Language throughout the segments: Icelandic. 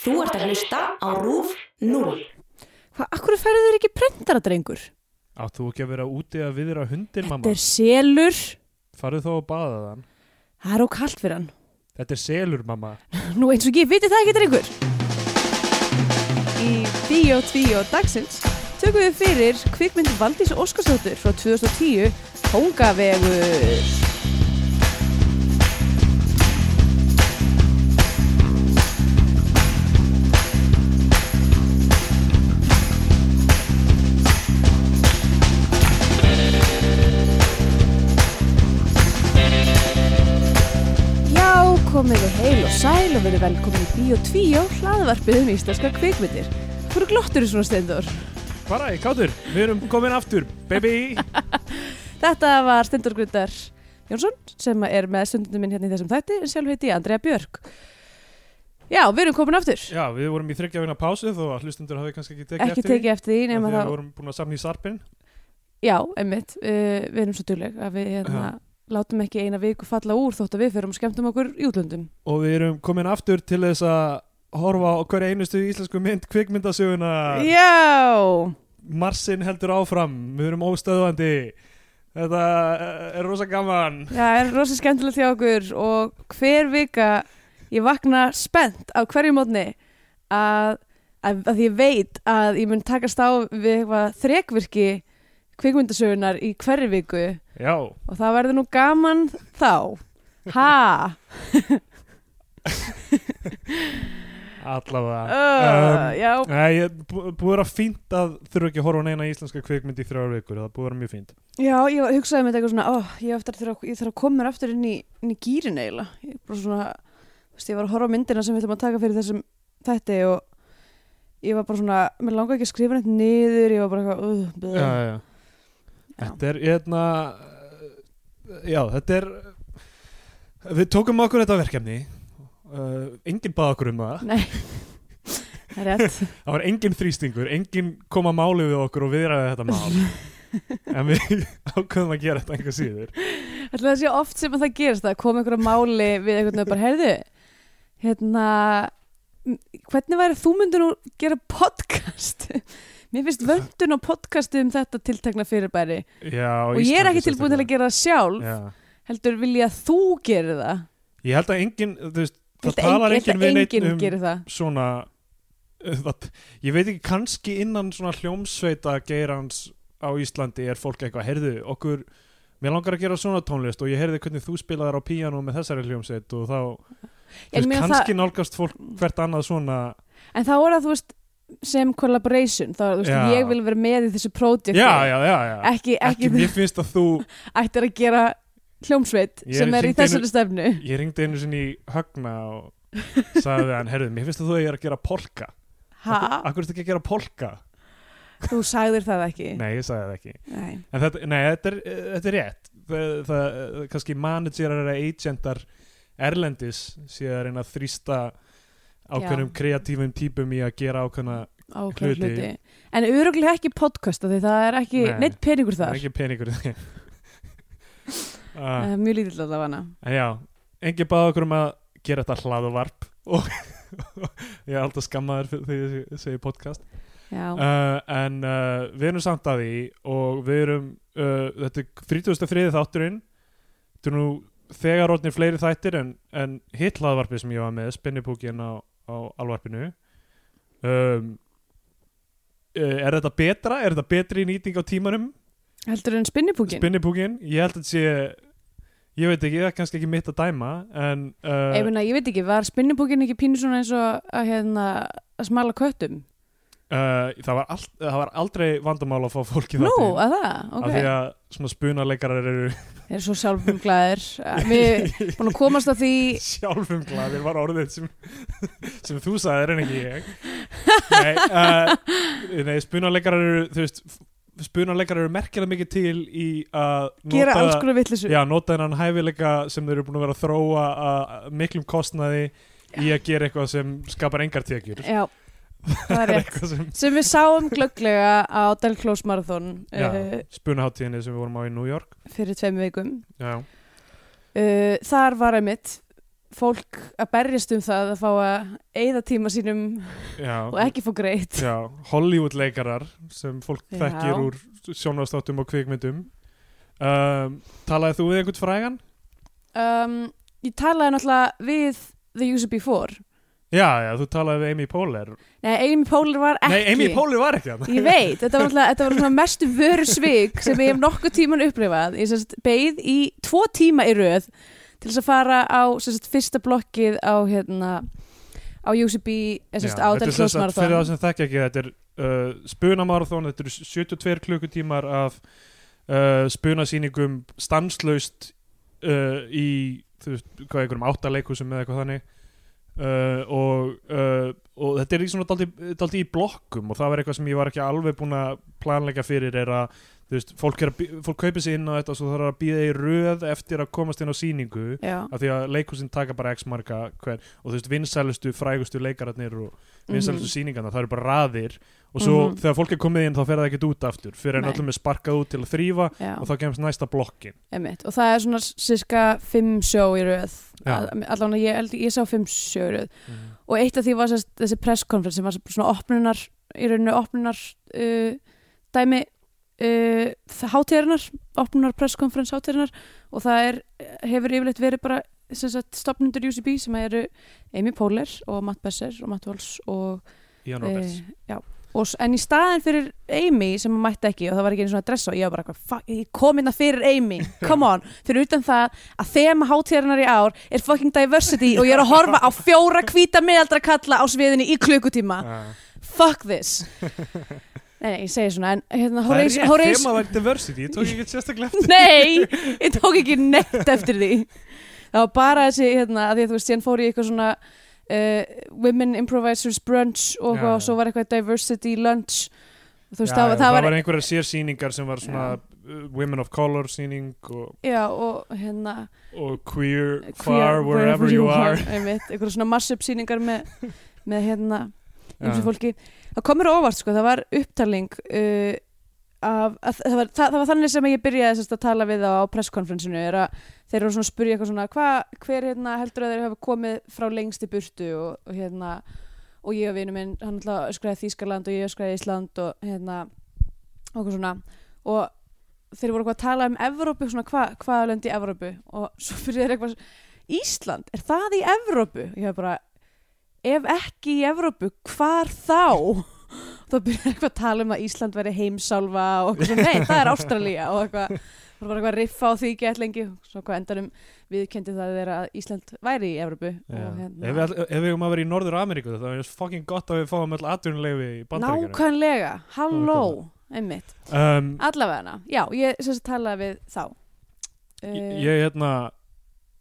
Þú ert að hlusta á RÚF 0. Hvað, akkur færðu þér ekki prentara, drengur? Átt þú ekki að vera úti að viðra hundin, mamma? Þetta er selur. Farðu þá að baða þann. Það er á kallt fyrir hann. Þetta er selur, mamma. Nú eins og ekki, viti það ekki, drengur? Í Bíó 2 dagsins tökum við fyrir kvikmynd Valdís Óskarsdóttur frá 2010 Hóngavegur. Já, komið við heil og sæl og verið velkomin í Bíó 2 hlaðvarpið um íslenska kvikmyndir. Hvor glottur þú svona stendur? Bara, ég kátur. Við erum komin aftur, baby. Þetta var Stendur Grundar Jónsson sem er með stundinu minn hérna í þessum þætti en sjálf heiti ég Andrea Björk Já, við erum komin aftur Já, við vorum í þryggja vina pásu þó að hlustundur hafi kannski ekki tekið ekki eftir. tekið eftir því því, nema af því þá að Við vorum búin að samna í sarpin. Já, einmitt, uh, við erum svo duleg að við hérna, látum ekki eina viku falla úr þótt að við fyrum og skemmtum okkur í útlöndum Og við erum komin aftur til þess að horfa á hverja einustu íslensku mynd kvikmyndasöguna. Já, Marsin heldur áfram. Við erum óstöðvandi. Þetta eh, er rosa gaman. það er rosa skemmtilegt hjá okkur og hver vika ég vakna spennt á hverju mótni að, að, að ég veit að ég mun takast á við eitthvað þrekvirki kvikmyndasögunar í hverju viku Já. og það verður nú gaman þá ha Allavega. Um, uh, já, Nei, ég bú- búið að vera fínt að þurfa ekki að horfa á neina íslenska kvikmynd í þrjár vikur, það búið að vera mjög fínt. já, ég hugsaði með þetta eitthvað svona ó, ég, á eftir að þurfa, ég þarf að koma mér aftur inn í, inn í gýrin eiginlega ég, bara svona, þú veist, ég var að horfa á myndina sem við ætlum að taka fyrir þessum þætti og ég var bara svona mér langaði ekki að skrifa neitt niður ég var bara eitthvað uh, bleh. Já, já. Þetta er, hérna, eh, já, þetta er, við tókum okkur þetta verkefni, uh, enginn bað okkur um það, nei það er rétt það var enginn þrýstingur, enginn kom að máli við okkur og viðraði þetta mál, en við ákveðum að gera þetta einhver síður. Ætli það sé oft sem að það gerist að koma einhverja máli við einhvern veginn bara, heyrðu, hérna, m- hvernig væri þú myndir nú gera podcast? Mér finnst vöndun á podcastu um þetta tiltekna fyrirbæri Já, á og ég er Íslandi ekki tilbúin til að sérstaklega. gera það sjálf, Já. heldur vil ég að þú gerir það. Ég held að enginn, þú veist, það Viltu talar engin- enginn viltu við neitt enginn um gerir það. svona uh, það, ég veit ekki kannski innan svona hljómsveita geirans á Íslandi er fólk eitthvað, heyrðu, okkur mér langar að gera svona tónlist og ég heyrði hvernig þú spilaðar á píanó með þessari hljómsveit og þá, þú Ég veist, meina kannski nálgast fólk hvert annað svona, En þá er það, þú veist, sem collaboration, þá er þú veist, Já. ég vil vera með í þessu pródjökti. já, já, já, já Ekki, ekki, mér finnst að þú, ættir að gera hljómsveit Ég er sem er í hringt einu- þessari stefnu. ég ringdi einu sinni í Högna og sagði hann, heyrðu, mér finnst að þú er að gera polka, Ha? akkur ertu ekki að gera polka Þú sagðir það ekki. nei, ég sagði það ekki Nei. En þetta, nei, þetta er, þetta er rétt það, það, kannski managerar eða agentar erlendis sé að reyna að þrýsta ákveðnum kreatífum típum í að gera ákveðna ákveð hluti. hluti. En öruglega ekki podcasta því það er ekki Nei. neitt peningur það er þar. ekki peningur í því. uh, Það er mjög lítill allavega. en já, engin bað okkur um að gera þetta hlaðuvarp og ég er alltaf skammaður fyrir því að ég segi podcast Já, uh, en uh, við erum samt að því og við erum uh, þetta er 33. þátturinn þetta er nú þegar orðnir fleiri þættir en, en hitt hlaðvarpið sem ég var með spinnipúkin á, á alvarpinu um, uh, er þetta betra? er þetta betri nýting á tímanum? heldur en um spinnipúkin? spinnipúkin, ég held að þetta sé ég veit ekki, það er kannski ekki mitt að dæma en ég, uh, meina, ég veit ekki, var spinnipúkin ekki pínu svona eins og að, hérna, að smala köttum? uh, það, var all, það var aldrei vandamál að fá fólki Nú, þáttinn, að það, af því ok. að svona spunaleikarar eru Þeir eru svo sjálfum glæðir. Við erum búin að komast að því sjálfum glaðir var orðið sem, sem þú sagðir en ekki ég nei, uh, nei spunarleikarar eru þú veist, spunarleikarar eru merkilega mikið til í að gera alls konar vittlisu. já, nota þennan hæfileika sem þau eru búin að vera að þróa að miklum kostnaði í að gera eitthvað sem skapar engar tekjur já, það er rétt. eitthvað sem Sem við sáum glögglega á Del Close Marathon uh, já, spunaháttíðinni sem við vorum á í New York fyrir tveim vikum. já, Uh, þar var Eh, einmitt fólk að berjast um það að fá að eigða tíma sínum já, og ekki fá greitt já, Hollywood leikarar sem fólk Já. þekkir úr sjónvastáttum og kvikmyndum um, talaði þú við einhvern frægan? um, ég talaði náttúrulega við The User Before já, já, þú talaði við Amy Poehler Nei, Amy Poehler var ekki nei, Amy Poehler var ekki hann Ég veit, þetta var náttúrulega þetta var svona mestu vörusvik sem ég hef nokkuð tíman upplifað ég sérst beið í tvo tíma í röð til þess að fara á sérst fyrsta blokkið á hérna á UCB, eh, sérst á þetta Dæli er sem sagt, fyrir það Klósmarathon sem þekkja ekki þetta er uh, spunamarathon, þetta eru 72 klukkutímar af uh, spunasýningum stanslaust uh, í þú veist, hvað, einhverjum áttaleikusum eða eitthvað þannig uh, og, uh, og þetta er í svona daldi í blokkum og það var eitthvað sem ég var ekki alveg búin að planleika fyrir er að þú veist, fólk, er að, bí- fólk kaupir sér inn á þetta og svo þarf að býða í röð eftir að komast inn á sýningu Já, af því að leikhúsin taka bara x marga hver, og þú veist vinsælustu, frægustu leikararnir og vinsælustu Mhm. sýningarna, það eru bara raðir og svo Mhm. þegar fólk er komið inn þá fer það ekkert út aftur fyrir en Nei. öllum er sparkað út til að þrýfa já, og þá kemst næsta blokkin einmitt og það er svona sirka fimm sjó í röð Já. Mhm. Að- allavega ég, held- ég sá fimm sjó í röð og eitt af því var sérst, þessi presskonferens sem var svona opnunar í rauninu opnunar uh, dæmi uh, hátíðarinnar opnunar presskonferens hátíðarinnar og það er, hefur yfirleitt verið bara sem sagt, stopnundur UCB sem eru Amy Poehler og Matt Besser og Matt Walsh og, Ian uh, Roberts já, og s- en í staðin fyrir Amy sem maður mætti ekki og það var ekki einu svona dress og ég var bara, eitthvað, fuck, ég kom inn að fyrir Amy come on, fyrir utan það að þema hátíðarinnar í ár er fucking diversity og ég er að horfa á fjóra hvíta miðaldra kalla á sviðinni í klukkutíma uh, fuck this nei, nei, ég segi svona en hérna, það er Horace, rétt, Horace þema var diversity ég tók ekki sérstaklega eftir nei, ég tók ekki neitt eftir því það var bara þessi hérna, að því að þú veist, ég fór í eitthvað svona uh, Women Improvisers Brunch og, Já, ja, og já. svo var eitthvað Diversity Lunch og þú veist, Já, það, já, var- e- það var, einhverjar sér sýningar sem var svona uh, women of color sýning og, já, og hérna og queer, Queer, far wherever you are einmitt, eitthvað svona mashup síningar með, með hérna ymsu Já. fólki það komur óvart sko, það var upptaling uh, af, að, það, var, það, það var þannig sem ég byrjaði sérst, að tala við þá á presskonferensinu er að þeir eru svona að spyrja eitthvað svona hva, hver hérna, heldur að þeir hafa komið frá lengst í burtu og, og hérna og ég og vinu minn, hann alltaf öskraði Þýskaland og ég öskraði Ísland og hérna og eitthvað svona og þeir voru eitthvað að tala um Evrópu svona hva, hvaða lönd í Evrópu og svo fyrir þeir eitthvað Ísland, er það í Evrópu? Ég hef bara, ef ekki í Evrópu, hvar þá? Þá byrjar eitthvað að tala um að Ísland væri heimsálfa og eitthvað svona, nei, það er Ástralía og eitthvað, það var bara eitthvað að riffa á því gett lengi, svo hvað endanum viðkendi það þeirra að Ísland væri í Evrópu Já. og hérna, Ef við all- ef við höfum að vera í Norður Ameríku þá er það fucking gott að við fáum öll atvinnulegfi í bandaríkjara Nákvæmlega, halló einmitt, um, allavega hana Já, ég sem sagt talaði við þá ég, Eh. ég hérna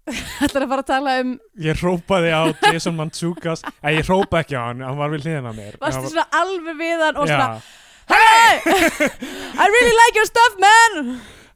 Þetta er að fara að tala um ég rópaði á Jason Mantzoukas eða ég rópa ekki á hann, hann var við hliðina á mér Varstu hann svona alveg við hann og var, svona já, Hey! I really like your stuff man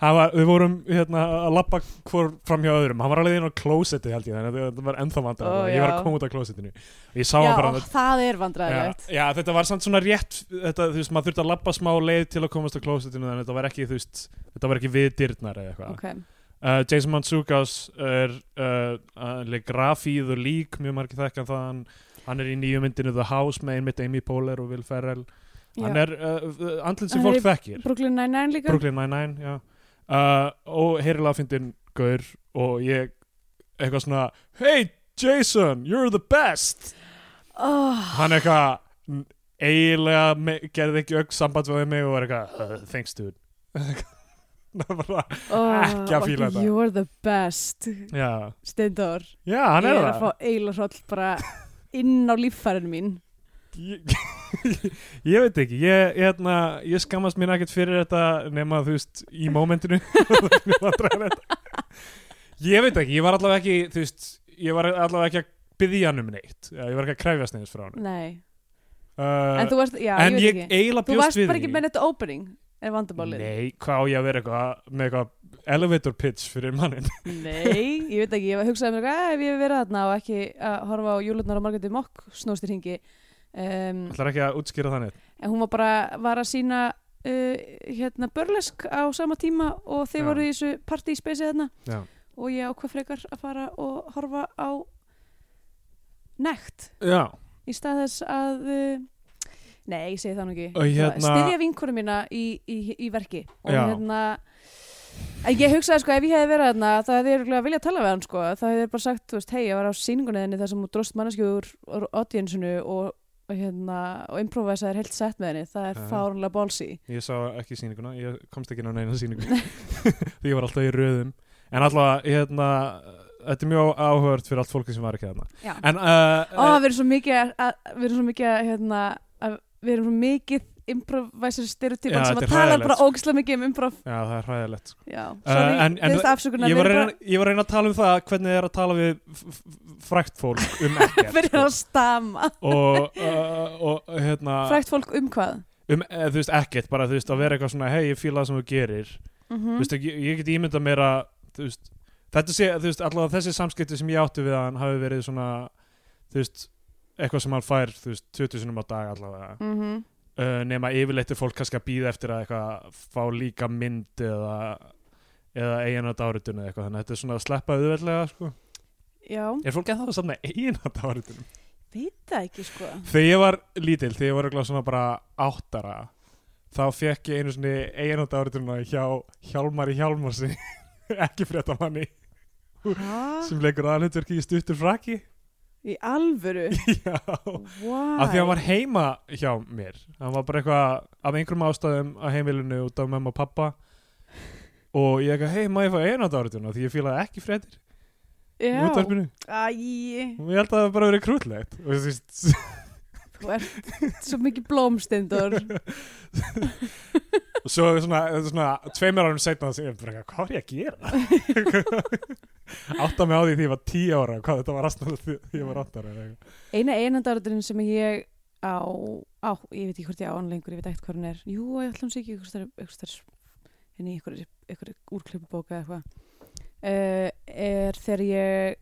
hann var, við vorum hérna að lappa hvor fram hjá öðrum hann var alveg inn á klósetti held ég þannig að þetta var ennþá vandað Ó, ég var já. að koma út af klósettinu og ég sá Já, hann bara og það er vandræðilegt já, já, þetta var samt svona rétt þetta, þú veist, maður þurfti að lappa smá leið til að komast á klósettinu þannig að þetta var ekki, þú veist, þetta var ekki við dyrnar eða eitthvað Ok, Uh, Jason Mantzoukas er uh, hann leik grafíð og lík mjög margir þekkan það hann, hann er í nýju myndinu The House með einmitt Amy Poehler og Will Ferrell hann já. er uh, andlinn sem Hann er fólk í- þekkir Brooklyn Nine-Nine líka Brooklyn Nine-Nine já. uh, og heyrilega fyndin gaur og ég eitthvað svona Hey Jason, you're the best oh, hann eitthvað mm, eiginlega me- gerði ekki ögg samband við mig og var eitthvað uh, thanks dude Það var bara- oh, Ekki að fíla þetta. You're the best já, Steindor já, hann Ég er er að það fá eila hroll bara inn á líffærinu mín ég, ég veit ekki ég, ég, hérna, ég skammast mér ekkert fyrir þetta nema þú veist í mómentinu ég veit ekki, ég var allavega ekki þú veist, ég var allavega ekki að byggja hann um neitt, ég var ekki að kræfjast neins frá hann Nei, en uh, þú varst, já, en ég ég veit ekki eiginlega Þú bjóst varst við bara ekki með þetta opening er vandabálið nei, hvað á ég að vera eitthvað með eitthvað elevator pitch fyrir mannin Nei, ég veit ekki, ég hugsaði mér eitthvað "Eh, ef ég hef verið þarna og ekki að horfa á júlutnar og Margréti Mokk snóstir hingi um, ætlar ekki að útskýra þannig en hún var bara var að sína uh, hérna börlesk á sama tíma og þeir Já. hérna. voru í þessu party í spesið þarna Já. og ég ákvað frekar að fara og horfa á nekt já, í stað þess að uh, nei, ég segi það nú ekki Og hérna- styðja vinkonum mína í, í, í verki og Já. hérna en ég hugsaði sko ef ég hefði verið þarna þá hefði ég örugglega viljað tala við hann sko þá hefði ég bara sagt, þú veist, hei, ég var á síningunniðinni þar sem þú dróst manneskjögur úr audiensinu og, og hérna, og improvisaðir heilt sett með henni, það er Já. fárunlega bólsi ég sá ekki sýninguna ég komst ekki inn á neina sýningu því ég var alltaf í röðum en alltaf, hérna, þetta er mjög áhört fyrir allt fólki sem var ekki þarna Já. en, uh, Ó, við erum svo mikið að, að- við erum svo mikið að, hérna, að við erum svo mikið improvisar Já, styrjótypan sem þetta að er tala hræðilegt, bara sko. ógislega mikið um improv já, það er hræðilegt Já, Eh, sorry, en- en- þið afsökunar ég við var, að erum reyna, ég var að reyna að tala um það hvernig það er að tala við f- f- frækt fólk um bara ekkert fyrir að stama og, uh, og hérna Frækt fólk um hvað? um, eh, þú veist, ekkert, bara þú veist, að vera eitthvað svona hei, ég fíla það sem þú gerir þú veist, ég, ég get ímyndað mér að þú veist, þetta sé, þú veist, allavega þessi samskipti sem ég átti við hann hafi verið svona þú veist, eitthvað sem hann fær þú veist, 20 sinum á dag allavega Mhm. uh, nema yfirleitt er fólk kannski að býða eftir að eitthvað fá líka mynd eða eða eigin að dáritun eða eitthvað þannig að þetta er svona að sleppa auðveldlega sko. Já, er fólk eða það samt með eigin að dáritun veit það ekki sko þegar ég var lítil, þegar ég var eitthvað svona bara áttara þá fekk ég einu svona eigin að dáritunna hjá Hjálmari Hjálmarsi ekki fréttamanni Hæ? sem leikur aðalhutverki í stuttur frakki Í alvöru? já Wow af því hann var heima hjá mér hann var bara eitthvað af einhverjum ástæðum á heimilinu út af mamma og pappa og ég eitthvað, hei, má ég fá einat árituna því ég fílaði ekki fréttir í Já, útvarpinu æj, og ég held að það hafi bara verið krútlegt og þú veist, þú ert svo mikið blómstendur og svo svona, þetta er svona tveimur árum setna sem ég bara, eitthvað, hvað var ég að gera átta mig á því því ég var tí ára hvað þetta var rastnað því því ég var átta ára eða eitthvað. Eina einandarðurinn sem ég á, á, ég veit ekki hvort ég á hann lengur, ég veit ekkert hvað hann er. Jú, ég ætlum sér ekki ykkur stær, ykkur stær, en í ykkur, ykkur úrklipubóka eða eitthvað, uh, er þegar ég,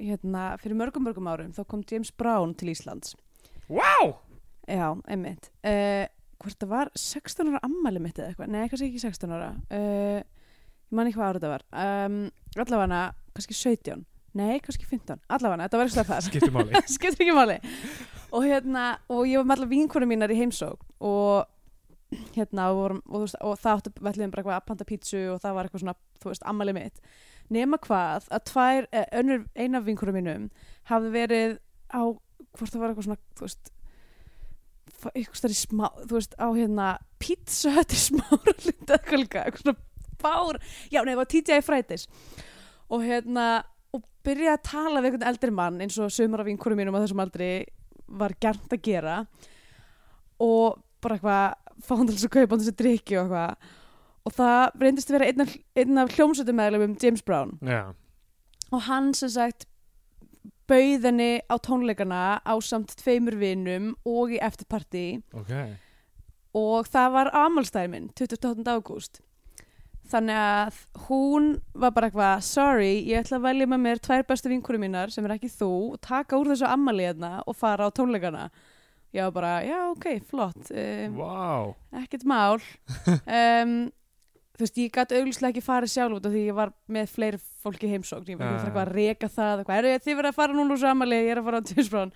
hérna, fyrir mörgum mörgum árum, þá kom James Brown til Íslands. wow, Já, einmitt. Uh, hvort það var 16 ára ammæli mitt eða eitthvað? Nei, kannski ekki 16 ára. Uh, ég man ekki hvað ára þetta var. Um, allavega, kannski 17. Nei, kannski 15. Allavega, þetta var eitthvað það skiptir máli skiptir ekki máli og hérna, og ég var með allar vinkunum mínar í heimsókn og hérna, og, vorum, og, þú veist, og það áttu velliðum bara eitthvað að panta pítsu og það var eitthvað svona, þú veist, ammali mitt nema hvað, að tvær, eh, önnur eina vinkunum mínum hafði verið á, hvort það var eitthvað svona, þú veist fa- eitthvað stærri smá, þú veist, á hérna pítsu höttir smára lindað eitthvað, eitthvað svona bár já, nei, það var TJ Fridays og hérna, og byrjaði að tala við einhvern eldri mann eins og sömur af vinkurum mínum á þessum aldri var gert að gera og bara eitthvað fá hann til þess að kaupa hann þessi drikki og eitthvað og það reyndist að vera einn af, einn af hljómsveitum meðlum James Brown já, og hann sem sagt bauð henni á tónleikana á samt tveimur vinum og í eftirparti ok og það var amalstæðin minn 28. ágúst þannig að hún var bara eitthvað sorry, ég ætla að velja með mér tvær bestu vinkurum mínar sem er ekki þú og taka úr þessu ammali hérna og fara á tónleikana ég var bara, já ok, flott um, wow, ekkert mál um, þú veist, ég gæti auglýslega ekki farið sjálf út af því ég var með fleiri fólki í heimsókn, ég var Já, ekki já. eitthvað að reka það eitthvað, "Heyrðu, þið verða að fara núna úr samali ég er að fara á Tjusbrón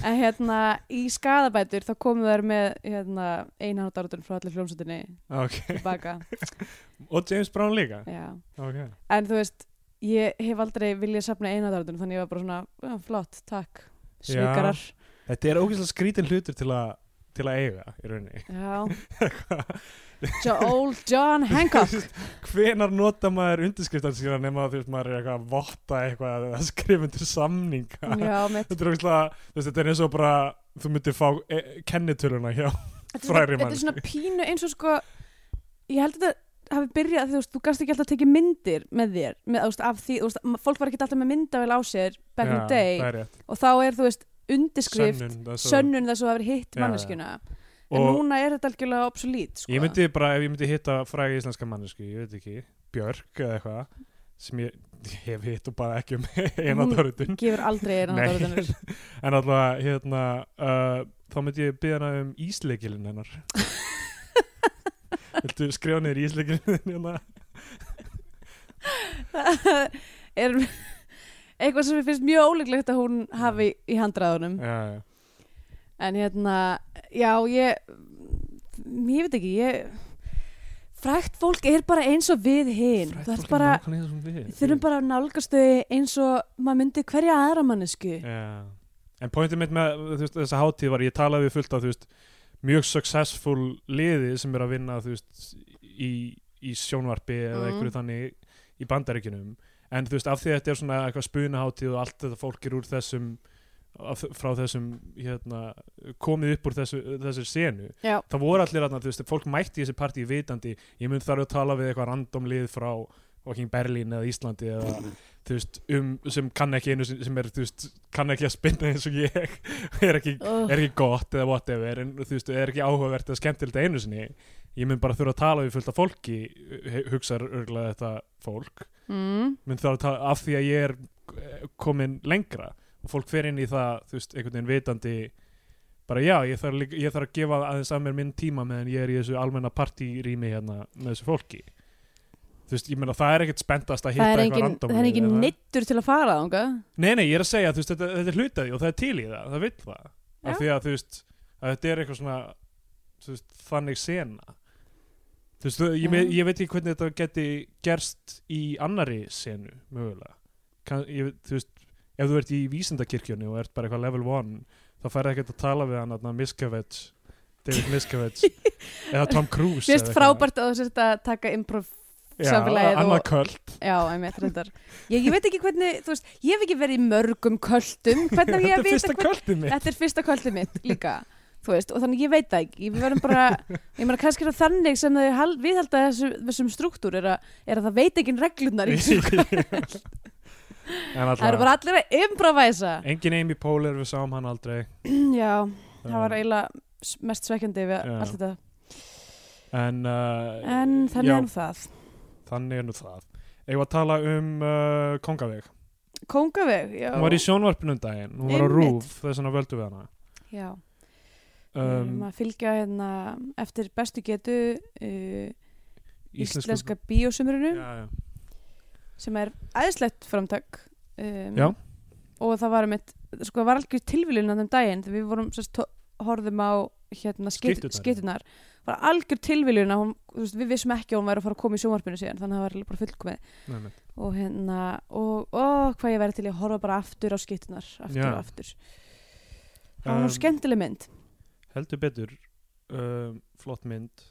en hérna, í skadabætur þá komu þær með hérna, einhvern dárutun frá allir hljómsveitinni ok tilbaka, og James Brown líka já ok en þú veist, ég hef aldrei viljað safna einhvern dárutun, þannig ég var bara svona "Já, flott, takk, Já. sveikarar Þetta er ógeðslega skrítin hlutur til að, til að eiga í rauninni. já, Jo- old John Hancock Hvenar nota maður undirskriftan síðan nema þú veist maður er eitthvað að votta eitthvað eða skrifa undir samninga. já, mitt Þetta er ógeðslega, þú veist þetta er eins og bara þú myndir fá e kennitöluna hjá. Þetta er svona- Fræri Þetta er svona pínu eins og sko ég held að þetta hafi byrjað þú veist, þú gast ekki alltaf að tekið myndir með þér með, þú veist, af því, þú veist, ma- fólk var ekki alltaf með myndavel á sér back in the Það day er rétt. og þá er þú veist undirskrift, Sönnun, það er svo- sönnun þess að það hafi hitt Já, já. manneskjuna en Og núna er þetta algjörlega obsolít sko. ég myndi bara, ef ég myndi hitta fræga íslenska mannesku, ég veit ekki, Björk eða eitthvað, sem ég, ég hef hitt og bara ekki um eina Hún- dörrutun. gefur aldrei einn Nei. annan orðanur En alltaf, hérna, uh, þá myndi ég byggja hana um ísleikilinn hennar. Viltu skrifa niður hérna? ísleikilinn hennar? er, eitthvað sem ég finnst mjög óleiklegt að hún hafi í handræðunum já, já. en hérna, já ég ég veit ekki ég, frækt fólk er bara eins og við hinn það er bara, við þurfum bara að nálgast þau eins og maður myndi hverja aðra mannesku Já. En pointið mitt með þú veist, þessa hátíð var ég talaði við fullt af þú veist, mjög successful liði sem er að vinna þú veist, í, í sjónvarpi eða Mm. einhverju þannig í bandaríkinum en þú veist, af því að þetta er svona eitthvað spunahátíð og allt þetta fólk er úr þessum af, frá þessum hérna, komið upp úr þessu, þessu senu já, það voru allir aðna, þú veist, fólk mætti í þessi partí vitandi, ég mun þarf að tala við eitthvað random lið frá fucking Berlín eða Íslandi eða, þú veist, um, sem kann ekki einu sinni- sem er, þú veist, kann ekki að spinna eins og ég, er ekki oh, er ekki gott eða whatever en þú veist, er ekki áhugavert eða skemmtilegt einu sinni ég mun bara þurfa að tala við fullt af fólki hugsaður örgulega þetta fólk mm, mun þarf að tala af því að ég er eh, komin lengra og fólk fer inn í það þú veist, einhvern veginn vitandi bara já, ég þarf, líka, ég þarf að gefa aðeins að mér minn tíma meðan ég er í þessu almenna partýrými hérna með þessu fólki þú veist, ég meina það er ekkert spenntast að hitta það er eitthvað engin, random það er lið, engin eða- neittur til að fara þangað Nei, nei, ég er að segja, þú veist, þetta, þetta er hlutaði og það er til í það, það vil það Já. af því að, þú veist, að þetta er eitthvað svona þú veist, þannig sena þú veist, þú- ég, me- Já. ég veit ekki hvernig þetta geti gerst í annari senu, mögulega kan, ég, veit- þú veist, ef þú ert í vísindakirkjunni og ert bara eitthvað level 1 þá færði ekkert að tala við hann þarna, Miscavige, David Miscavige eða Tom Cruise Mér finnst eða eitthvað. frábært að þú sért að taka improv Já, samfélagið og- annað kvöld Já, einmitt, reyndar ég, ég veit ekki hvernig, þú veist, ég hef ekki verið í mörgum köldum Hvernig á ég að þetta er vita fyrsta hvernig kvöldið mitt Þetta er fyrsta köldum mitt líka Þú veist, og þannig ég veit það ekki Við verðum bara, ég meina kannski er það þannig sem þau hal- viðhalda þessu, þessum struktúr er, að- er að það veit ekki reglunar í þessu Það En eru allavega. bara allir að improvæsa Engin Amy Poehler, við sáum hann aldrei Um, Já, það var eiginlega s- mest svekkjandi við Já. allt þetta En, uh, En þannig já, er nú það þannig er nú það Ég var að tala um uh, Kongaveg Kóngaveg, já Hún var í sjónvarpinu um daginn, hún var á Einmitt. rúf þess vegna völdu við hana Já um, um, að fylgja hérna eftir bestu getu uh, íslensku- íslenska bíósumrunu Já, já. sem er æðislegt framtak um, Já. og það var mitt sko það var algjör tilviljun á þeim daginn þegar við vorum sérst to- horfðum á hérna Skytturnar, já. skitunar var algjör tilviljun að hún, þú veist, við vissum ekki að hún væri að fara að koma í sjónvarpinu síðan þannig að það var eiginlega bara fullkomið Nei, nei. og hérna og ó, hvað ég væri til í að horfa bara aftur á skitunar aftur Já. og aftur það var nú Um, skemmtileg mynd Heldur betur um, Flott mynd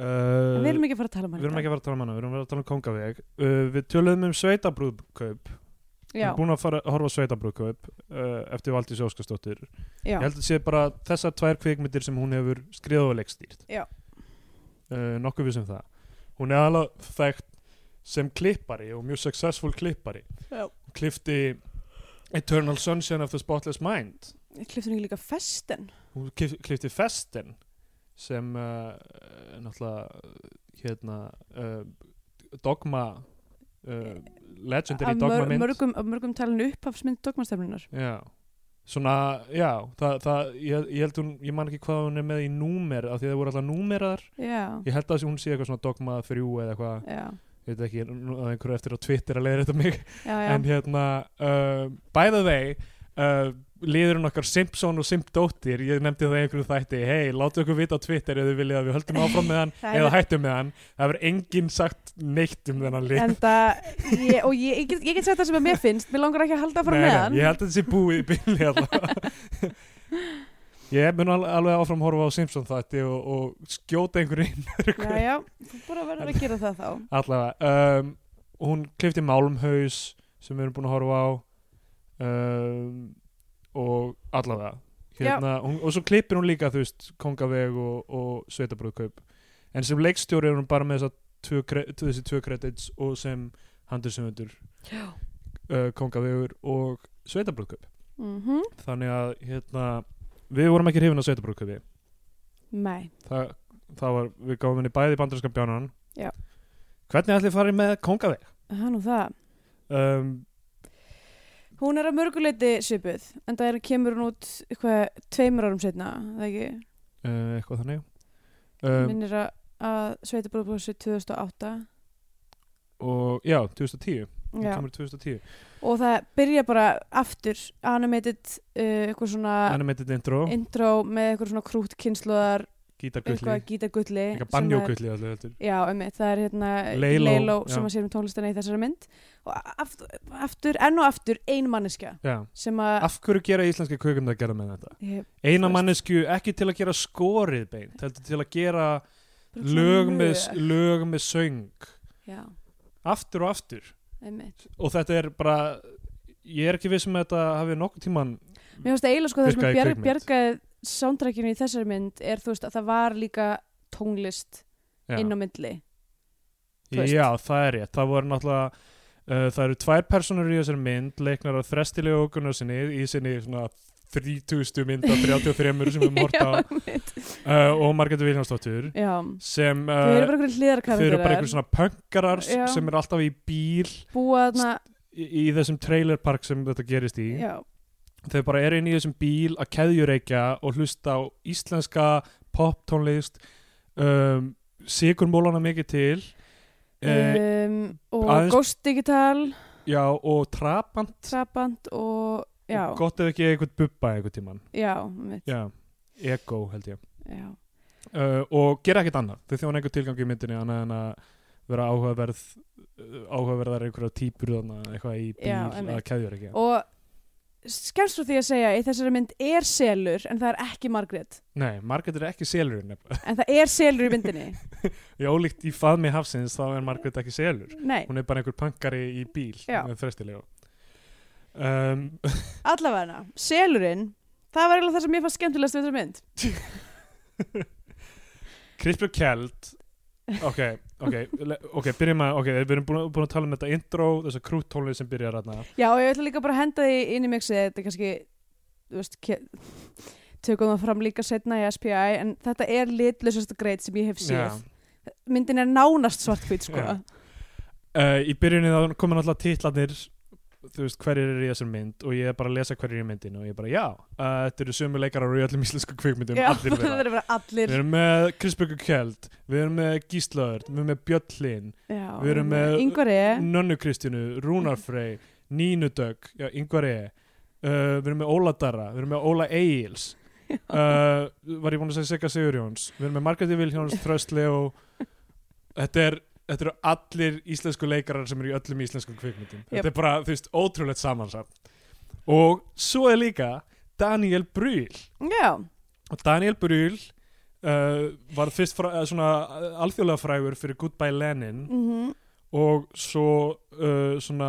uh, en við erum ekki að fara að tala um Við erum ekki að fara að tala um hana, við erum að tala um Kongaveg uh, Við töluðum um sveitabrúðkaup Við erum já, búin að um fara, horfa á sveitabrúðkaup uh, Eftir Valdís Óskarsdóttir já, Ég held að sé bara þessar tvær kvikmyndir sem hún hefur skriðað og leikstýrt Já. uh, Nokkuð við sem það Hún er alveg þekkt sem klippari og mjög successful klippari Já. Hún klifti Eternal Sunshine of the Spotless Mind kliftur ekki líka festen Hún klif, klifti Festen sem uh, náttúrulega uh, hérna uh, dogma uh, legendary af dogma mör, mynd mörgum, af mörgum talinu upphafsmynd dogmastefnunar Já, svona, já, það, það ég, ég held hún, ég man ekki hvað hún er með í númer, af því það voru alltaf númeraðar já, ég held að hún sé eitthvað svona dogma þrjú eða eitthvað, já, ég veit ekki nú- það er einhverju eftir á Twitter að leiða þetta mig já, já. en hérna, uh, by the way uh, liðurinn okkar Simpson og Simpdóttir, ég nefndi það í einhverju þætti hei, látu okkur vita á Twitter ef þið viljið að við höldum áfram með hann Það eða er- hættum með hann, það verður enginn sagt neitt um þennan lið en það ég, og ég, ég, get, ég get sagt það sem að mér finnst mér langar ekki að halda að fara Nei, með nei, hann Ég held að þetta sé búið í byrni allavega Ég mun al- alveg áfram horfa á Simpson þætti og, og skjóta einhverju inn já, já, þú bara verður að gera það þá allavega um, Hún klifti Málmhaus sem við erum búin að horfa á um, og allavega hérna, hún, og svo klippir hún líka þú veist, Kongaveg og, og Sveitabrúðkaup en sem leikstjóri er hún bara með þessa tvö, kre- þessi tvö kredits og sem handursumundur Já. uh, Kongavegur og Sveitabrúðkaup mm þannig að hérna, við vorum ekki hrifin að sveitabrúkuði nei, Þa, það var, við gáum henni bæði bandarinska bjánan Já. hvernig ætli farið með kongaveg hann og það um, hún er að mörguleiti svipuð en það er, kemur hún út eitthvað tveimur árum setna það ekki, uh, eitthvað þannig um, um, minnir að, að sveitabróðbróðsir 2008 og já, 2010 hún Já. kemur 2010 og það byrja bara aftur animated uh, eitthvað svona animated intro, intro með eitthvað svona krút kynsluðar eitthvað gítargulli, gítagulli eitthvað sem er- banjógulli allir heldur já, emmi, það er hérna Leiló, Leilo, sem já. að sér um tónlistina í þessari mynd og aftur, aftur enn og aftur ein manneskja Já. sem að af hverju gera íslenski kökum það gera með þetta Ég- Þú eina veist- mannesku ekki til að gera skorið beint heldur til að gera bara svona lög með, lög með söng já, aftur og aftur emmi og þetta er bara ég er ekki viss um að þetta hafi nokkuð tíman Mér finnst eiginlega sko það sem Virkaði bjar, kvikmynd. bjargaði soundtrackinu í þessari mynd er þú veist að það var líka tónlist já. inn á myndli þú veist. já, það er rétt það voru náttúrulega uh, það eru tvær personur í þessari mynd leiknar að þrestilega okkurna sinni í sinni svona 3000 mynda 33 sem við mórta á uh, og Margeti Viljánsdóttur Já, sem þau eru uh, bara einhverjum þau eru bara einhver hlýðarkarakterar svona pönkarar Já. sem er alltaf í bíl búa þarna í, í þessum trailerpark sem þetta gerist í Já, þau bara eru inn í þessum bíl að keðjureikja og hlusta á íslenska poptónlist um, sigur mólana mikið til uh, um, og aðeins- Ghost Digital já og trapant Trabant og já, og gott ef ekki eitthvað bubba einhvern tíman já, mitt, já. já, ego held ég uh, og gera ekkert annað þau þjóna einhver tilgang í myndinni annað en að vera áhugaverð uh, áhugaverðar einhverja típur þarna eitthvað í bíl Já, að einmitt. keðjureikja og skemst frá því að segja í þessari mynd er selur en það er ekki Margrét nei, Margaret er ekki selurinn nefnilega. en það er selur í myndinni Í ólíkt í faðmi hafsins þá er Margaret ekki selur Nei, hún er bara einhver pankari í bíl Já. með þrestilega um, allavega hana, selurinn það var eiginlega það sem ég fannst skemmtilegast við þessari mynd Krispjör Kjeld ok, ok, le- ok, byrjum að ok, við erum búin, að- búin að tala um þetta intro þessa krúttólið sem byrjar aðna Já, og ég ætla líka bara að henda því inn í mixið þetta er kannski, þú veist ke- tökum það fram líka setna í SPI en þetta er litlausast greit sem ég hef séð myndin er nánast svartkvít sko Já. uh, í byrjunni þá koma náttúrulega titlanir þú veist hverjir eru í þessari mynd og ég er bara að lesa hverjir eru í myndinu og ég er bara já, uh, þetta eru sömu leikarar í öllum íslensku kvikmyndum allir það þeirra er bara Við allir erum með Krispjörg Kjeld, við erum með Gíslaður, við erum með Bjöllin, Já, Við erum með- Ingvar E Nönnu Kristínu, Rúnar Frey Nínu Dögg, já, Ingvar E uh, við erum með Óla Darra, við erum með Óla Egils uh, var ég búin að segja Sigga Sigurjóns við erum með Margreti Vilhjóns, Tröstli og þetta er Þetta eru allir íslensku leikarar sem eru í öllum íslenskum kvikmyndum. Þetta er bara, þú veist, ótrúlegt samansamt. Og svo er líka Daniel Brühl. Já, Og Daniel Brühl uh, var fyrst frá, eh, svona eh, alþjóðlega frægur fyrir Goodbye Lenin mm og svo uh, svona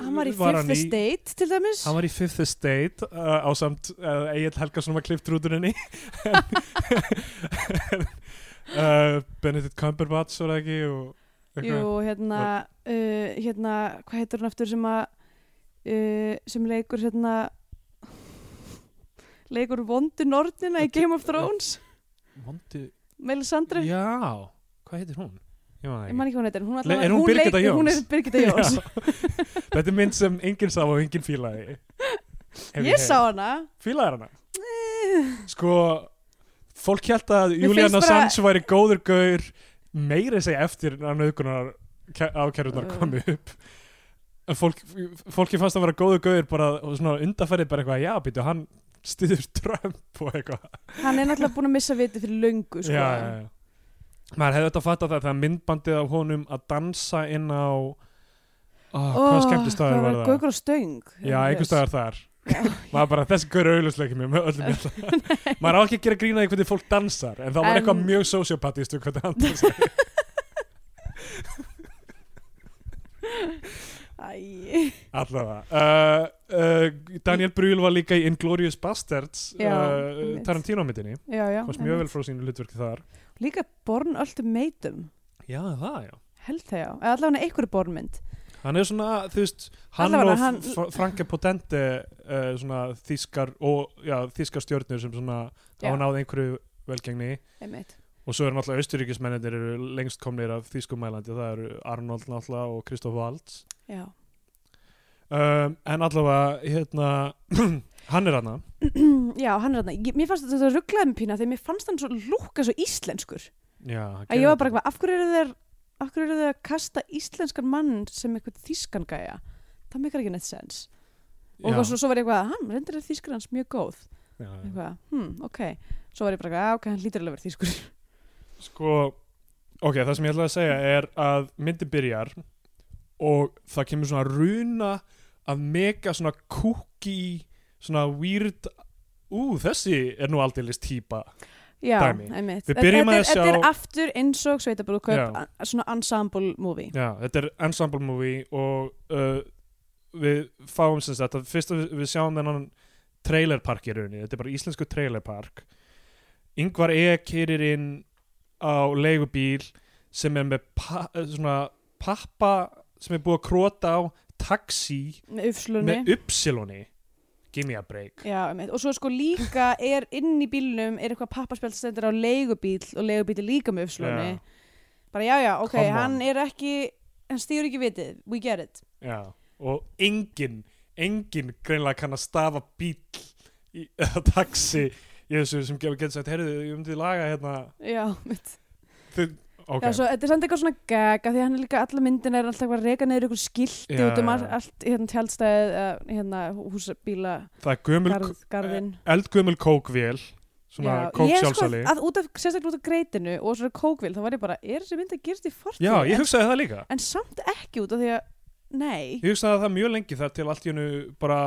hann var í fifth estate til dæmis hann var í Fifth Estate uh, á samt uh, Egil Helgason var klift rútuninni uh, Benedict Cumberbatch var það ekki og Jú, hérna, uh, hérna hvað heitir hann aftur sem að uh, sem leikur hérna leikur vondu nornina í Þetta- Game of Thrones Mondi, Melisandre, já, hvað heitir hún? Ég man það ég man ekki hvað hún heitir hún, Le- allavega- er hún Birgitta leik- hún er Jóns? Birgitta Jóns Já. Þetta er mynd sem enginn sá og enginn fílaði Hef ég heyrt. sá hana Fílaðir hana? Eh, Sko, fólk held að Mér Julian finnst bara- Assange væri góður gaur meira að segja eftir að nöðgunar ákærunar Uh. komu upp En fólk, fólki fannst að vera góður gaur bara og svona undarfærið bara eitthvað já, býtu, hann styður Trump og eitthvað hann er náttúrulega búin að missa vitið fyrir löngu sko. já, já, já. maður hefði þetta fatt að það þegar myndbandið af honum að dansa inn á oh, hvað skemmtist það það var var það gaukur á stöng já, einhver staðar þar Já. maður bara, þessi gaur er auðvitað mér með öllum hjálpa maður á ekki að gera grína í hvernig fólk dansar en það var En- eitthvað mjög sociopatist um hvernig hann dansar Æ, allavega uh, uh, Daniel Brühl var líka í Inglourious Bastards Já, uh, einmitt. Tarantino-myndinni já, já, komst mjög vel frá sínu hlutverki þar líka born alltaf meitum já, það, já held það já, eða allavega einhver bornmynd hann er svona, þú veist, hann Allavega, og hann... hann- Franka Potente uh, svona þýskar og já, þýskar stjórnir sem svona Já. hafa náð einhverju velgengni einmitt og svo eru náttúrulega austuríkismennir eru lengst komnir af þýskumælandi það eru Arnold náttúrulega og Kristoff Waltz já um, en allavega hérna, hann er hana Já, hann er þarna. Ég- Mér fannst þetta um rugglaði mig pína þegar mér fannst hann svo lúka svo íslenskur. já, Að ég var bara eitthvað, af hverju eru þeir akkur eru þau að kasta íslenskan mann sem eitthvað þýskan gæja það mikar ekki neitt sens og já, svo, svo var ég eitthvað, hann reyndir er þýskur hans mjög góð já, já. eitthvað, hm, ok svo var ég bara eitthvað, "Ah, ok, hann lítur alveg að vera þýskur Sko, ok, það sem ég ætlaði að segja er að myndi byrjar og það kemur svona runa að mega svona kúki svona weird ú, þessi er nú aldeilis típa já, Dæmi. einmitt Við Þetta- byrjum þetta að er- þetta er sjá- aftur eins og sveitabrúköp Já. a- svona ensemble movie Já, þetta er ensemble movie og uh, við fáum sem sagt að fyrst að við, við sjáum þennan trailerpark í rauninni, þetta er bara íslensku trailerpark Yngvar E. keirir inn á leigubíl sem er með pa, eh, svona pappa sem er búið að króta á taxi með ufslunni með uppsiloni Gimme a break Já, einmitt. og svo sko líka er inn í bílnum er eitthvað pappaspjald sem stendur á leigubíl og leigubíl er líka með ufslunni Já. bara já, já, ok, Come on. hann er ekki hann stýr ekki vitið, we get it Já, og engin engin greinlega kann að stafa bíl í, eða taxi í þessu sem getur sagt, heyrðu, ég myndi laga hérna já, mitt Þið, ok, já, svo, þetta er samt eitthvað svona gaga því að hann er líka alla myndin er alltaf að reka neður ykkur skilti Já, út um já, all, já. allt hérna tjálstæðið hérna húsabíla það er gömul, garð, garðin eldgömul kókvél eh, svona Já, ég sko kóksjálfsali að út af, sérstaklega út af greitinu og svona kókvil, þá var ég bara, er þessi mynd að gerst í fortíð Já, ég hugsaði það líka en samt ekki út af því að nei, Ég hugsaði það mjög lengi þar til allt í hennu bara,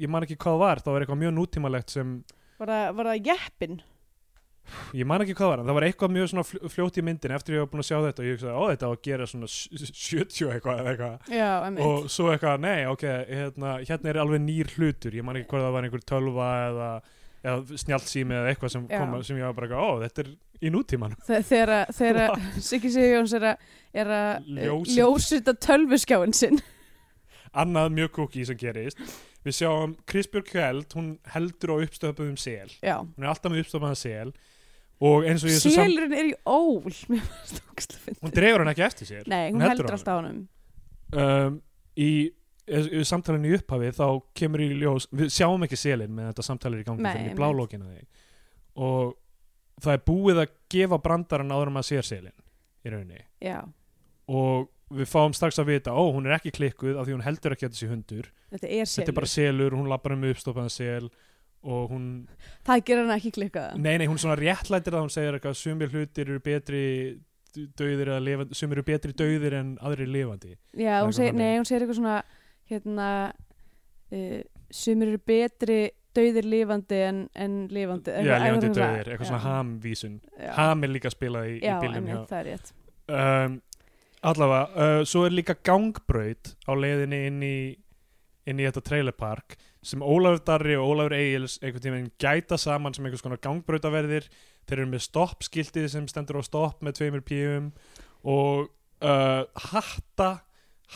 ég man ekki hvað það var, það var eitthvað mjög nútímalegt sem, var það- var það jeppin ég man ekki hvað það var en það var eitthvað mjög svona fl- fljótt í myndin eftir ég var búin að sjá þetta og ég hugsaði, ó þetta á að gera svona s- s- 70 eitthvað eða eitthvað Já, emmitt. og svo eitthvað, nei, ok, hérna, hérna er alveg nýr hlutur, ég man ekki hvort það var einhver tölva eða, eða snjáltsými eða eitthvað sem, Já. kom, sem ég var bara, eitthvað, ó, þetta er í nútíman Þegar að- þegar að Siggi Sigjóns er að- er að eh, Ljósi- ljósita tölvuskjáin sinn. annað mjög kúki sem gerist við sjáum Krisbjörg Kjeld hún heldur á uppstöpuðum sel Já. hún er alltaf með uppstöpuðan sel og eins og ég þessu samt Sélurinn er í ól. Mér varst ógst að hún finna. dregur hann ekki eftir sér Nei, hún hún heldur heldur alltaf á honum. um, í, í samtalinu í upphafi þá kemur í ljós við sjáum ekki selin með þetta samtalir í gangi Nei, fyrir einmitt. blálókina því og það er búið að gefa brandarann áður en maður sér selin í rauninni Já. og við fáum strax að vita ó, hún er ekki klikkuð af því hún heldur ekki að þessi hundur Þetta er þetta er sélur. bara selur, hún lappar um uppstofaðan sel og hún Það gerir hann ekki klikkaða. Nei, nei, hún svona réttlætir það, hún segir eitthvað sumir hlutir eru betri dauðir eða lifandi, sumir eru betri dauðir en aðrir lifandi. Já, hún Eitthvað segir, þannig. nei, hún segir eitthvað svona, hérna, uh, sumir eru betri dauðir lifandi en, en lifandi. Já, lifandi eitthvað svona- dauðir, eitthvað svona já, hamvísun. já. Ham er líka spilað í, í Já, bílum hjá. emmitt, það er rétt. Um, allavega, uh, svo er líka gangbraut á leiðinni inn í, inn í þetta trailerpark sem Ólafur Darri og Ólafur Egils einhvern tímann gæta saman sem einhvers konar gangbrautaverðir þeir eru með stoppskiltið sem stendur á stopp með tveimur píum og uh, hatta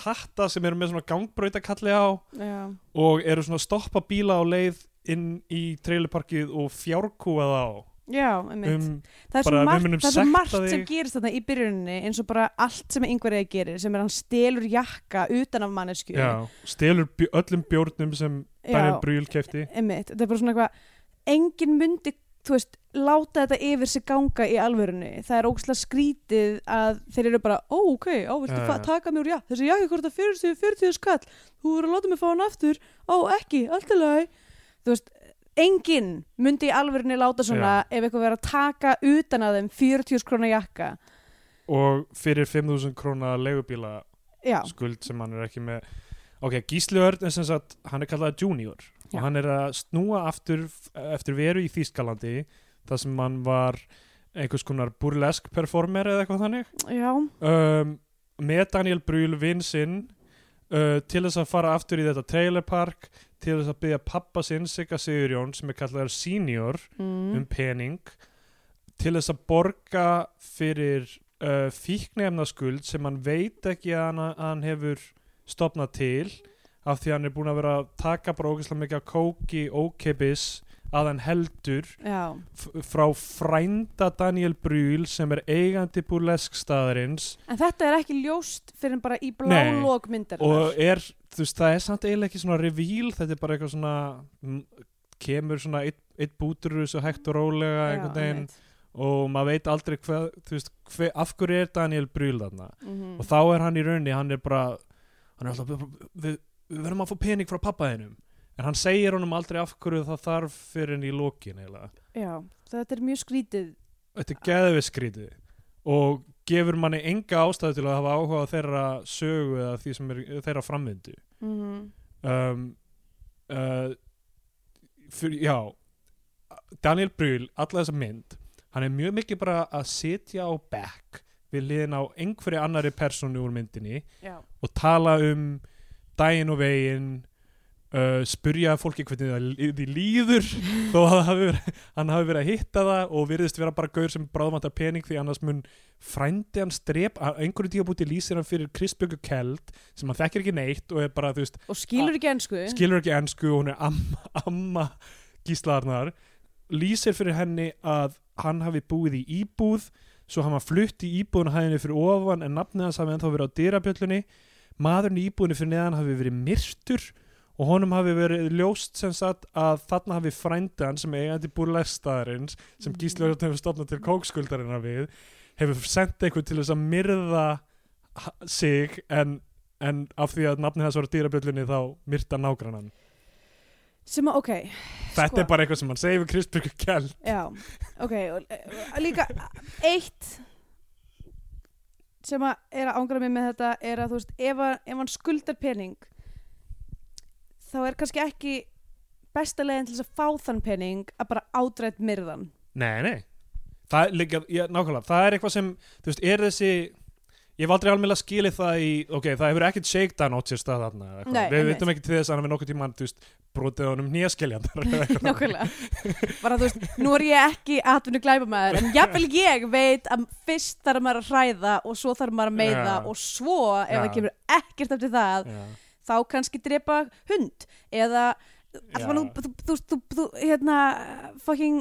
hatta sem eru með svona gangbrautakalli á Já. og eru svona að stoppa bíla á leið inn í trailerparkið og fjárkúa það á Já, emmitt. um, það er Bara svo við margt, það munum er svo sekta margt sem þig. gerist þarna í byrjuninni eins og bara allt sem yngvar eða gerir sem er að hann stelur jakka utan af mannesku já, stelur bjó, öllum bjórnum sem Daniel Brühl kefti einmitt, þetta er bara svona eitthvað engin myndi, þú veist, láta þetta yfir sig ganga í alvörunni það er ógslag skrítið að þeir eru bara ó, ok, á, viltu Já, uh. já. taka mér úr jakka þessi jakka hvort að 40, 40 skall þú voru að láta mig fá hann aftur, ó, ekki, allt í lagi þú veist, engin myndi í alvörunni láta svona ef eitthvað verið að taka utan að þeim 40 skrona jakka og fyrir 5.000 króna leigubíla Já, skuld sem hann er ekki með ok, Gísli Örn er sem sagt hann er kallað junior Já. og hann er að snúa aftur f- eftir veru í Þýskalandi þar sem hann var einhvers konar burlesk performer eða eitthvað þannig já, um, með Daniel Brühl vinn sinn uh, til þess að fara aftur í þetta trailerpark til þess að byggja pappa sinn Sigga Sigurjón sem er kallaður senior mm. um pening til þess að borga fyrir uh, fíknefnaskuld sem hann veit ekki að hann, að hann hefur stopnað til af því að hann er búin að vera að taka bara ógeðslega mikið að kóki ókeipis að hann heldur já, f- frá frænda Daniel Brühl sem er eigandi burlesk staðarins en þetta er ekki ljóst fyrir en bara í blá Nei, lók myndar og er, þú veist, það er samt eiginlega ekki svona revíl, þetta er bara eitthvað svona m- kemur svona eitt, eitt bútur úr þessu hægt og rólega einhvern veginn og maður veit aldrei hvað, þú veist, hver, af hverju er Daniel Brühl þarna Mhm. og þá er hann í rauninni, hann er bara hann er alltaf, bara, við, við verðum að fá pening frá pappa þínum, en hann segir honum aldrei af hverju það þarf fyrir henni í lokin eiginlega, Já, þetta er mjög skrítið þetta er geðviskrítið og gefur manni enga ástæðu til að hafa áhuga á þeirra sögu eða því sem er þeirra framvindu mm um, uh, fyrir, já Daniel Brühl, alla þessa mynd hann er mjög mikið bara að sitja á back við liðin á einhverju annari persónu úr myndinni Já, og tala um daginn og veginn uh, spurja fólki hvernig það lí- því líður þó að það hafi verið, hann hafi verið að hitta það og virðist vera bara gaur sem bráðmæntar pening því annars mun frændi hans drep að einhverju tíðabúti lýsir hann fyrir Kristbjörgu Keld sem hann þekkir ekki neitt og er bara þú veist og skilur ekki ennsku skilur ekki ennsku og hún er amma, amma gíslaðarnar lýsir fyrir henni að hann hafi búið í íbúð svo hann var flutt í íbúðun hæðinni fyrir ofan en nafnið hans hafi ennþá verið á dyrabjöllunni maðurinn í íbúðunni fyrir neðan hafi verið myrtur og honum hafi verið ljóst sem sagt að þarna hafi frændan sem er eigandi búrlestaðarins sem Gísli Örnum hefur stofnað til kókskuldarina við hefur sendt einhvern til þess að myrða ha- sig en, en af því að nafnið hans var á dýrabjöllunni þá myrta nágrannan sem að, ok, þetta Sko. er bara eitthvað sem hann segir við Kristbjörgu Kjell já ok, og, e, og líka eitt sem að er að ángra mig með þetta er að þú veist, ef, að, ef hann skuldar pening þá er kannski ekki besta leiðin til þess að fá þann pening að bara ádrætt myrðan nei, nei það er, líka, já, nákvæmlega, það er eitthvað sem þú veist, er þessi ég hef aldrei alveg skilið það í ok, það hefur ekkert shakedown átt sér stað þarna eða eitthvað. Nei, við einmitt. veitum ekki til þess að hann við nokkuð tíma hann, þú veist, brotið á honum nýjaskiljan nákvæmlega, bara þú veist nú er ég ekki atvinnu glæpamaður en jafnvel ég veit að fyrst þarf maður að hræða og svo þarf maður að meiða Já. og svo ef Já. það kemur ekkert eftir það þá kannski drepa hund eða allan, Já. þú, þú, þú, þú, þú hérna fucking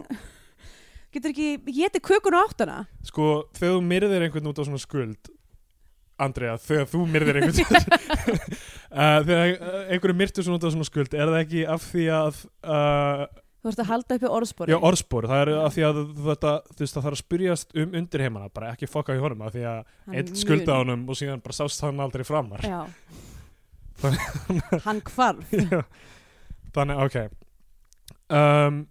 getur ekki, ég geti kökun á áttuna Sko, þegar þú myrðir einhvern út á svona skuld Andrea, þegar þú myrðir einhvern uh, Þegar uh, einhverju myrtur svona út á svona skuld Er það ekki af því að uh, þú veist að halda uppi orðspori Já, orðspor, það er af því að þetta Þú veist, það þarf að spyrjast um undirheimana Bara ekki fokka í honum af því að Hann er Einn mjög- skulda honum og síðan bara sást hann aldrei framar Já. hann hvarf Já. Þannig, ok um,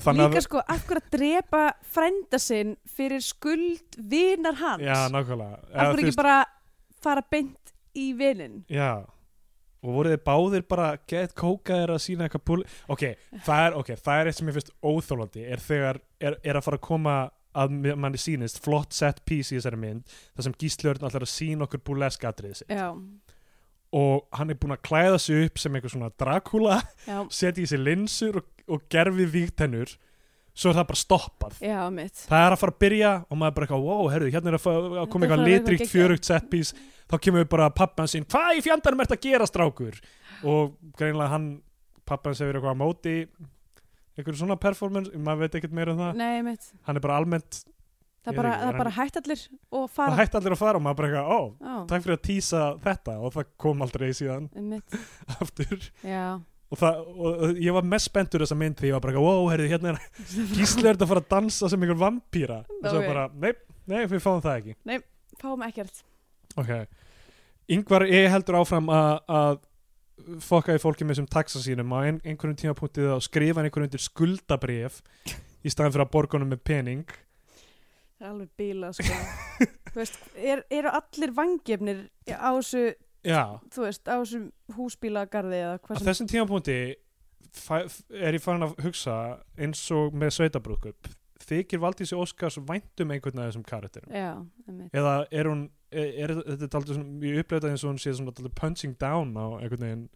Þannig líka sko, af hverju að drepa frænda sinn fyrir skuld vinar hans Já, nákvæmlega af Eða, þú hverju veist- ekki bara fara beint í vinin Já og voru þið báðir bara get kókaðir að sína eitthvað púl ok, það er, okay, það er eitt sem ég finnst óþólandi er þegar er, er að fara að koma að mér- manni sýnist flott set piece í þessari mynd þar sem gíslörn alltaf er að sína okkur búlesk atriðið sitt já, og hann er búinn að klæða sig upp sem einhver svona Dracula já, setja í sig linsur og, og gerfi víktennur svo er það bara stoppað já, mitt það er að fara að byrja og maður bara eitthvað wow, herðu, hérna er að, fa- að koma Þetta er eitthvað að vera eitthvað litríkt geggjað. fjörugt setpiece þá kemur bara pappan sín hvað í fjandarum ert að gera strákur og greinilega hann, pappan segir eitthvað á móti einhverju svona performance, maður veit ekkert meira um það nei, mitt, hann er bara almennt, það Ég er bara, ekki- það er bara hætt allir og það fara hætti allir að fara og maður bara eitthvað, ó, Já, takk fyrir að týsa þetta og það kom aldrei síðan mitt, aftur já og, það, og og ég var mest spenntur þessa mynd því ég var bara eitthvað, wow, herðu, hérna er gísli er þetta að fara að dansa sem einhver vampýra og svo Ok. bara, nei, nei, við fáum það ekki fáum ekkert Ok, yngvar ég heldur áfram að- að fokka í fólki með sem taxa sínum á ein, einhverjum tímapunktið að skrifa hann einhverjum undir skuldabrif í staðan fyrir að borga honum með pening Það er alveg bíla, sko. þú veist, er, eru allir vangefnir á þessu, Já, þú veist, á þessu húsbílagarði eða á hvað sem... þessum tímapunkti fæ- er ég farin að hugsa eins og með sveitabrúkup þykir Valdísi Óskars væntum einhvern af þessum karakterum Já, einmitt. eða er hún e, er, er þetta daldið svona, ég upplega þetta eins og hún sé svona daldið punching down á einhvern veginn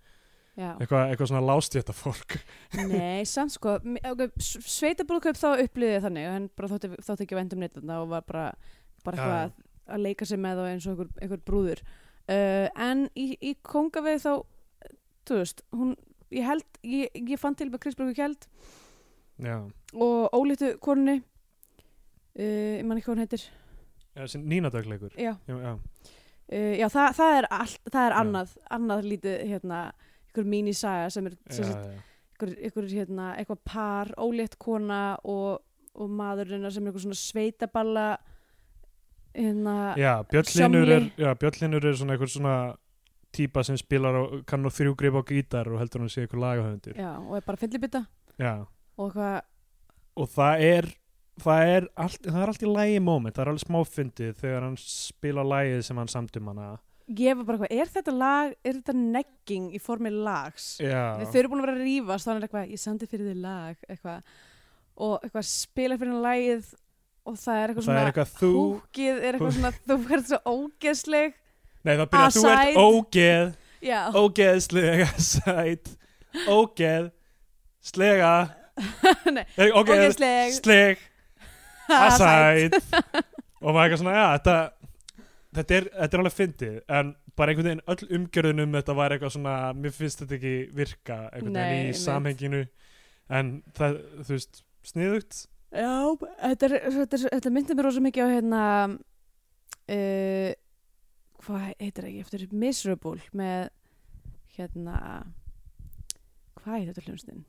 Já. eitthvað, eitthvað svona lástjætta fólk Nei, samt sko, m- okay, sveitabrúðkaup þá upplýði þannig, hann bara þótti, þótti ekki vendum neitt þarna og var bara, bara Já, eitthvað að, að leika sér með þá eins og einhver, einhver brúður. Uh, en í, í kongaveið þá, þú veist, hún, ég held, ég, ég fann til með Kristbrúku Kjeld Já, og ólítu konunni, uh, ég man ekki hvað hún heitir, nínadagleikur já. Já, já. Uh, já, það, það er, allt, það er annað, annað lítið, hérna, ykkur mínisaga sem er, sem já, sagt, já. ykkur, ykkur, hérna, eitthvað par, ólétt kona og, og maðurinn sem er eitthvað svona sveitaballa hérna, já, bjöllinur er, Sjómli. já, bjöllinur er svona einhver svona típa sem spilar á, kann á þrjú grip á gítar og heldur hann sé eitthvað lagahöfundur já, og er bara fyllibita já, og eitthvað, og það er það er allt, það er allt í lægi moment það er alveg smáfyndið þegar hann spila lægið sem hann samtum hana ég var bara eitthvað, er þetta lag, er þetta negging í formi lags? já, Við þau eru búin að vera að rífast, þannig er eitthvað, ég sendi fyrir þig lag, eitthvað, og eitthvað spila fyrir hann lagið og það er eitthvað það er svona, eitthvað þú húkið er eitthvað svona, þú verður svo ógeðsleg, nei það byrja þú ert Aside. ógeð já, ógeðslega sæt ógeð slega Nei, Nei, ógeð ógeðsleg. sleg ha, sæt. sæt og maður eitthvað svona já þetta þetta er, þetta er alveg fyndið en bara einhvern veginn öll umgjörðunum um þetta var eitthvað svona mér finnst þetta ekki virka einhvern Nei, veginn í einmitt. samhenginu en það þú veist sniðugt Já, þetta, er, þetta, er, þetta myndir mér rosa mikið á hérna uh, hvað heitir það ekki eftir Miserable með hérna hvað heitir þetta hljómsninn?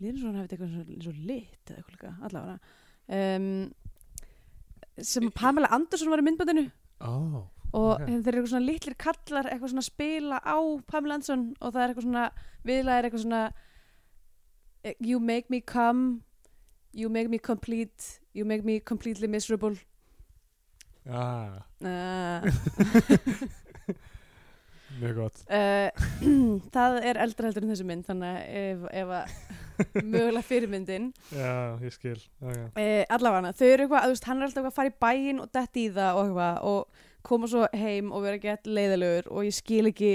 Lýður svo hann hefði eitthvað svona- eins og lit eða eitthvað líka, allavega um, sem Pamela Andersson var í myndbandinu oh. og Ok. þeir eru eitthvað svona litlir kallar eitthvað svona að spila á Pamela Andersson og það er eitthvað svona, viðlag er eitthvað svona eh, you make me come you make me complete you make me completely miserable ah, uh, mjög gott uh, það er eldra heldur en þessi mynd þannig að ef, ef að mögulega fyrirmyndin já ég skil okay. uh, allavega þau eru eitthvað, að, þú veist, hann er alltaf eitthvað að fara í bæinn og detti í það og eitthvað og koma svo heim og vera gett leiðilegur og ég skil ekki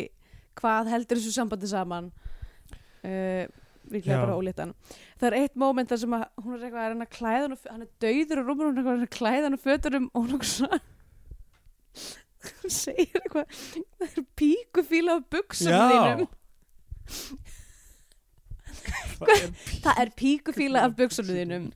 hvað heldur þessu sambandi saman uh, líklega Já. bara ólítan það er eitt moment þar sem að hún er eitthvað að reyna að klæða hann og f- hann er dauður og rúmur hún er eitthvað að reyna að klæða hann og föturum og hún er eitthvað svona hún segir eitthvað það er píkufíla á buksum þínum það er það er píkufíla af buksunum þínum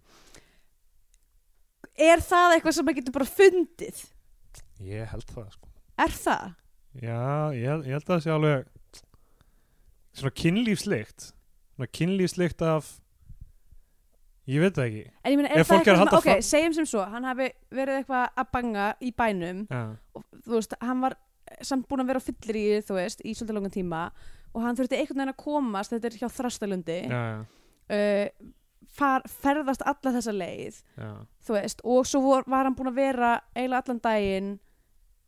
er það eitthvað sem maður getur bara fundið ég held það sko er það? Já, ég, hel- ég held að það sé alveg svona kynlífsleikt svona kynlífsleikt af ég veit það ekki en ég meina Ef er það fólk er að eitthvað halda sem, fram- ok, segjum sem svo hann hafi verið eitthvað að banga í bænum Já, og þú veist, hann var samt búin að vera á fyllir í, þú veist, í svolítið langan tíma og hann þurfti einhvern veginn að komast þetta er hjá Þrastalundi já, uh, far, ferðast alla þessa leið já, þú veist, og svo vor, var hann búin að vera eiginlega allan daginn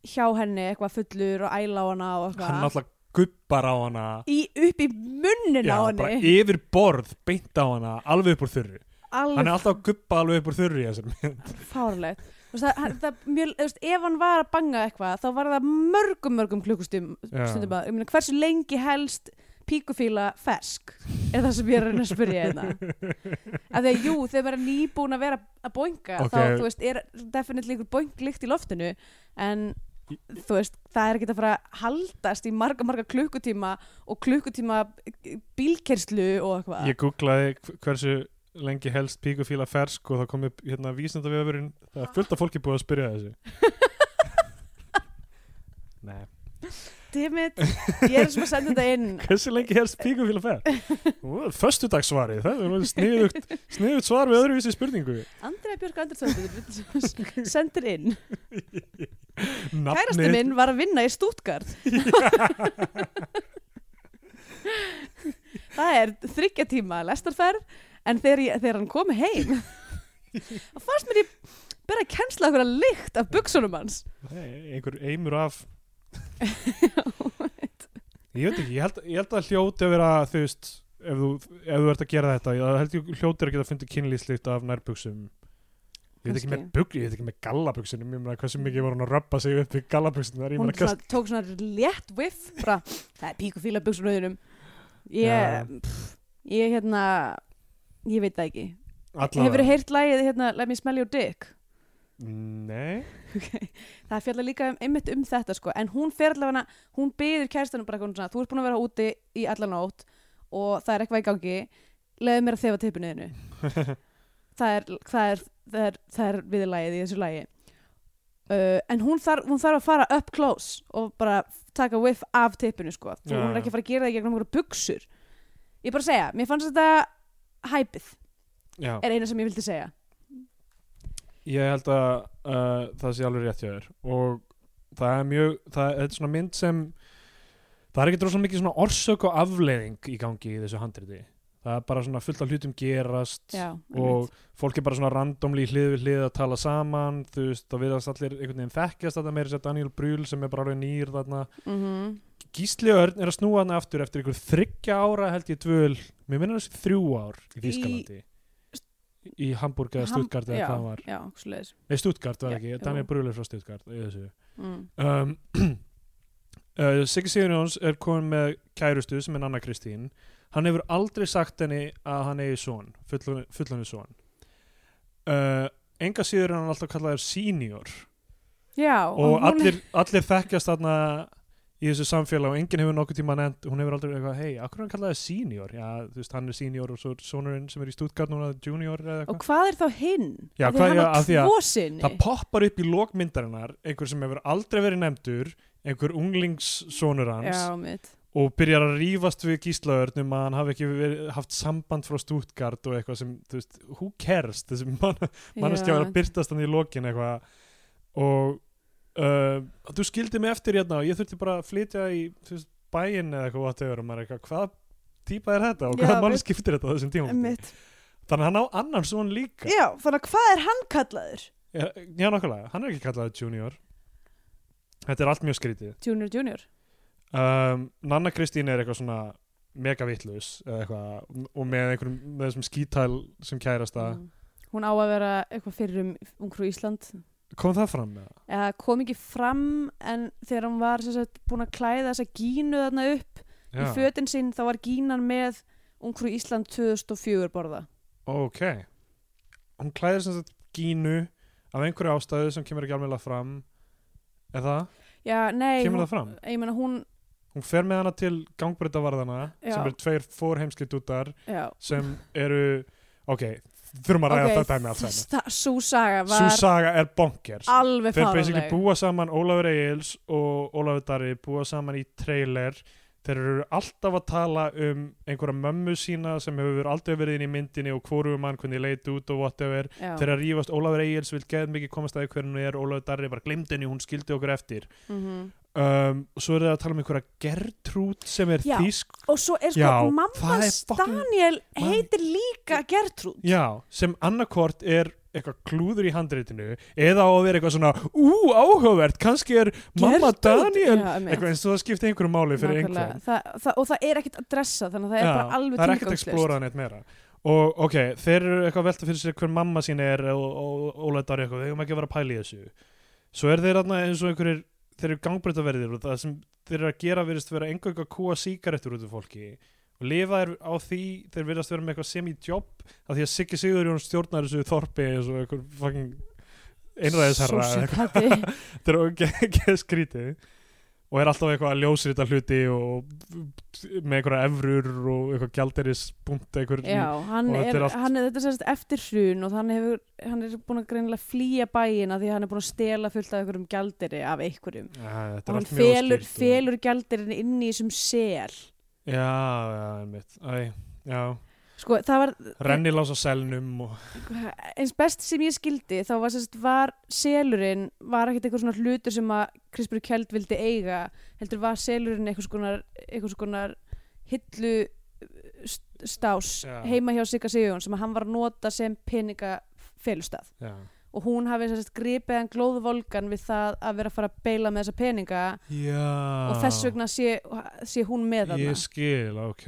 hjá henni eitthvað fullur og æla á hana og eitthvað hann alltaf gubbar á hana í, upp í munnin á bara henni yfir borð beint á hana alveg upp úr þurri hann alveg er alltaf að gubba alveg upp úr þurri í þessum mynd. fárlegt Þú veist, það, hann- það, mjög, þú veist, ef hann var að banga eitthvað þá var það mörgum mörgum klukkustum Já. stundum að, ég meina hversu lengi helst píkufíla fersk er það sem ég er að reyna að spyrja hérna að því að jú, þegar maður er nýbúin að vera að boinga Ok. þá, þú veist, er definitely einhver boinglikt í loftinu en þú veist, það er ekki að fara að haldast í marga, marga klukkutíma og klukkutíma bílkerslu og eitthvað ég googlaði hv- hversu lengi helst píkufíla fersk og það kom upp hérna vísindavefurinn það er fullt af fólki búið að spyrja að þessu nei Dimmit, ég er sem að senda þetta inn Hversu lengi helst píkufíla fer? Föstudagsvarið, það er sniðugt, sniðugt svar við öðruvísi spurningu. Andrea Björk Andersson sendir inn kærasti Nafnið- minn var að vinna í Stuttgart það er þryggja tíma lestarferð en þegar, ég, þegar hann kom heim þá fannst mér ég bera að kensla okkur að lykt af buksunum hans Nei, Einhver eimur af... ég veit ekki, ég held, ég held að hljóti að vera, þú veist, ef þú, ef þú ert að gera þetta, ég held ég hljóti að geta fundið kynlýslikt af nærbuksum. Ég veit, ekki með Kannski. bug, ég veit ekki með gallabuksunum, ég meina hversu mikið var hún að röppa sig upp í gallabuksunar, ég hún meina svona, kannski, tók svona létt viff bara, það er píkufíla buksunum auðinum Já. ég, pff, ég hérna ég veit það ekki Hefur allavega. þið heyrt lagið hérna Let me smell your dick? Nei, Okay. Það fjallar líka um, einmitt um þetta sko en hún fer allavega, hún byður kæristanum bara eitthvað svona, þú ert búin að vera úti í alla nótt og það er eitthvað í gangi leiðu mér að þefa tippinu þinu það er, það er, það er, það er viðlagið í þessu lagi uh, en hún þarf, hún þarf að fara up close og bara taka whiff af tippinu sko, þú, Já, hún er já. ekki að fara að gera það í gegnum einhverja buksur ég er bara að segja, mér fannst þetta hæpið já, er eina sem ég vildi segja Ég held að uh, það sé alveg rétt hjá þér og það er mjög, það, þetta er svona mynd sem það er ekki rosalega mikið svona orsök og afleiðing í gangi í þessu handriti það er bara svona fullt af hlutum gerast já, og einmitt. fólk er bara svona randomli hlið við hlið að tala saman þú veist, þá virðast allir einhvern veginn þekkjast þetta meira sér Daniel Brühl sem er bara alveg nýr þarna Mhm. Gísli Örn er að snúa hann aftur eftir einhver þryggja ára held ég dvöl mér minnur þessi þrjú ár í Þískalandi í, í Hamburg eða Ham- Stuttgart eða já, hvað það var já, svoleiðis. Nei, Stuttgart var Já, ekki, jú. Daniel Brühl er frá Stuttgart í þessu. Mm. Um, uh, Siggi Sigurjóns er komin með kærustu sem er Anna Kristín. Hann hefur aldrei sagt henni að hann eigi son, fullanu son. Uh, enga síður er hann alltaf kallaður senior já og hún- allir, allir þekkjast þarna í þessu samfélag og enginn hefur nokkuð tíma nefnt, hún hefur aldrei eitthvað, hei, akkur hann kallaði senior? Já, þú veist, hann er senior og svo er sonurinn sem er í Stuttgart núna, junior eða og eitthvað. hvað er þá hinn? Já, Af því hvað- hann já, á af því að- tvo sinni það poppar upp í lokmyndarinnar einhver sem hefur aldrei verið nefndur einhver unglingssonur hans já, mitt og byrjar að rífast við gíslaörn um að hann hafi ekki verið, haft samband frá Stuttgart og eitthvað sem, þú veist, who cares þessi mann, manneskja var að byrtast hann í lokin eitthvað og uh, þú skildi mig eftir hérna og ég þurfti bara að flytja í þú veist, bæinn eða eitthvað whatever og maður er eitthvað, hvað típa er þetta og Já, hvað mann mitt. skiptir þetta á þessum tímum mitt þannig að hann á annan svona líka já, þannig að hvað er hann kallaður? já, já nokkulega, hann er ekki kallaðið junior þetta er allt mjög skrítið Junior Junior um, Nanna Kristín er eitthvað svona mega vitlaus eða eitthvað og með einhverjum með þessum skítæl sem kærasta mm. hún á að vera eitthvað fyrir um ungrú Ísland kom það fram með það? eða kom ekki fram en þegar hún var sem sagt, búin að klæða þessa gínu þarna upp í fötin sinn þá var gínan með ungrú Ísland 2004 borða ok hún klæðir sem sagt gínu af einhverju ástæðu sem kemur ekki alveg fram eða já, nei, kemur hún, það fram? ég meina hún hún fer með hana til gangbrutavarðana Já. sem eru tveir fórheimski dútar já, sem eru ok, þurfum að ræða Ok, þetta með allt saman það- sú saga var Sú saga er bonkers alveg Þeir basically fáraleg búa saman Ólafur Egils og Ólafur Darri búa saman í trailer þeir eru alltaf að tala um einhverja mömmu sína sem hefur aldrei verið inn í myndinni og hvorum hann hvernig leit út og whatever Já. þeir eru að rífast Ólafur Egils vil geð mikið komast að því hvernig hún er Ólafur Darri bara glemd henni, hún skildi okkur eftir Mhm. um, og svo eru þeir að tala um einhverja Gertrúd sem er Já. þýsk og svo er sko Já, það er mammans fucking- Daniel Man- heitir líka Gertrúd Já, sem annarkvort er eitthvað klúður í handreitinu eða á að vera eitthvað svona ú, áhugavert, kannski er mamma Gertrúd, Daniel já, einmitt. eitthvað eins og það skipti einhverju máli fyrir Nákvæmlega. einhvern það, það, og það er ekkert að dressa þannig að það er bara alveg það er ekkert tilgangslaust. explorað neitt meira og ok, þeir eru eitthvað að velta fyrir sér hver mamma sín er og, og ólættar eitthvað, þeir eru ekki að vera að pæla í þessu svo er þeir þarna eins og einhverjir þeir eru gangbreytaverðir og það sem þeir eru að gera virðist vera einhver eitthvað kúa síkarettur út af fólki og lifa þeir á því þeir virðast vera með eitthvað semi-job af því að Siggi Sigurjón stjórnar þessu þorpi eins og einhver fucking einræðisherra eða eitthvað. Sósíopati. þetta er ekki skrítið og er alltaf eitthvað að ljósa þetta hluti og með einhverja efrur og eitthvað gjaldiris búnt einhver já, hann Og þetta er, er allt- hann er þetta sérst eftir hrun og hann, hefur, hann er búin að greinilega flýja bæina því að hann er búin að stela fullt af einhverjum gjaldiri af einhverjum Æ, þetta og er hann allt mjög felur, óskýrt og- felur gjaldirinn inn í þessum sel já, já, einmitt Æ, já, sko, það var renni lás á selnum og eins best sem ég skildi þá var, sérst, var selurinn var ekkert eitthvað svona hlutur sem að Krispur Kjeld vildi eiga heldur var selurinn eitthvað svona, eitthvað svona hillu uh, st- stás Já. heima hjá Sigga Sigurjón sem að hann var að nota sem peninga felustað já, og hún hafi sérst, gripið hann glóðvolgan við það að vera að fara að beila með þessa peninga já og þess vegna sé, sé hún með þarna Ah. ég skil, ok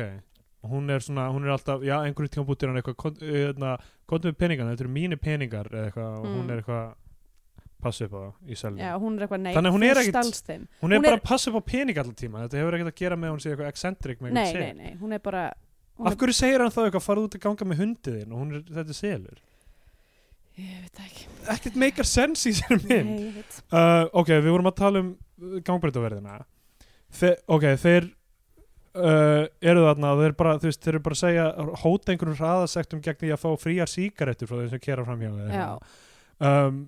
hún er svona, hún er alltaf, já, einhverju tíma bútið hann eitthvað, kom- hérna, komdu með peningana þetta eru mínu peningar eða eitthvað og hún Mm. er eitthvað passa upp á það í selnum Já, hún er eitthvað nei, Þannig að hún þú er ekkit- stalst þeim hún er hún bara er- að passa upp á pening alltaf tíma þetta hefur ekkert að gera með að hún sé eitthvað eccentric með nei, einhvern sel. nei, nei, hún er bara hún Af hverju segir hann þá eitthvað farðu út að ganga með hundiðin og hún er þetta er selur? er, ég veit það ekki Ekkert meikar sens í sér mynd. Nei, ég veit. Uh, ok, við vorum að tala um uh, gangbreytaverðina. Þe, ok, þeir uh, eru þarna og þeir, bara, þú veist, þeir eru bara að segja hóta einhverjum hraðasektum gegn því að fá fríar sígarettur frá þeim sem kera framhjá þeim. Já. Um,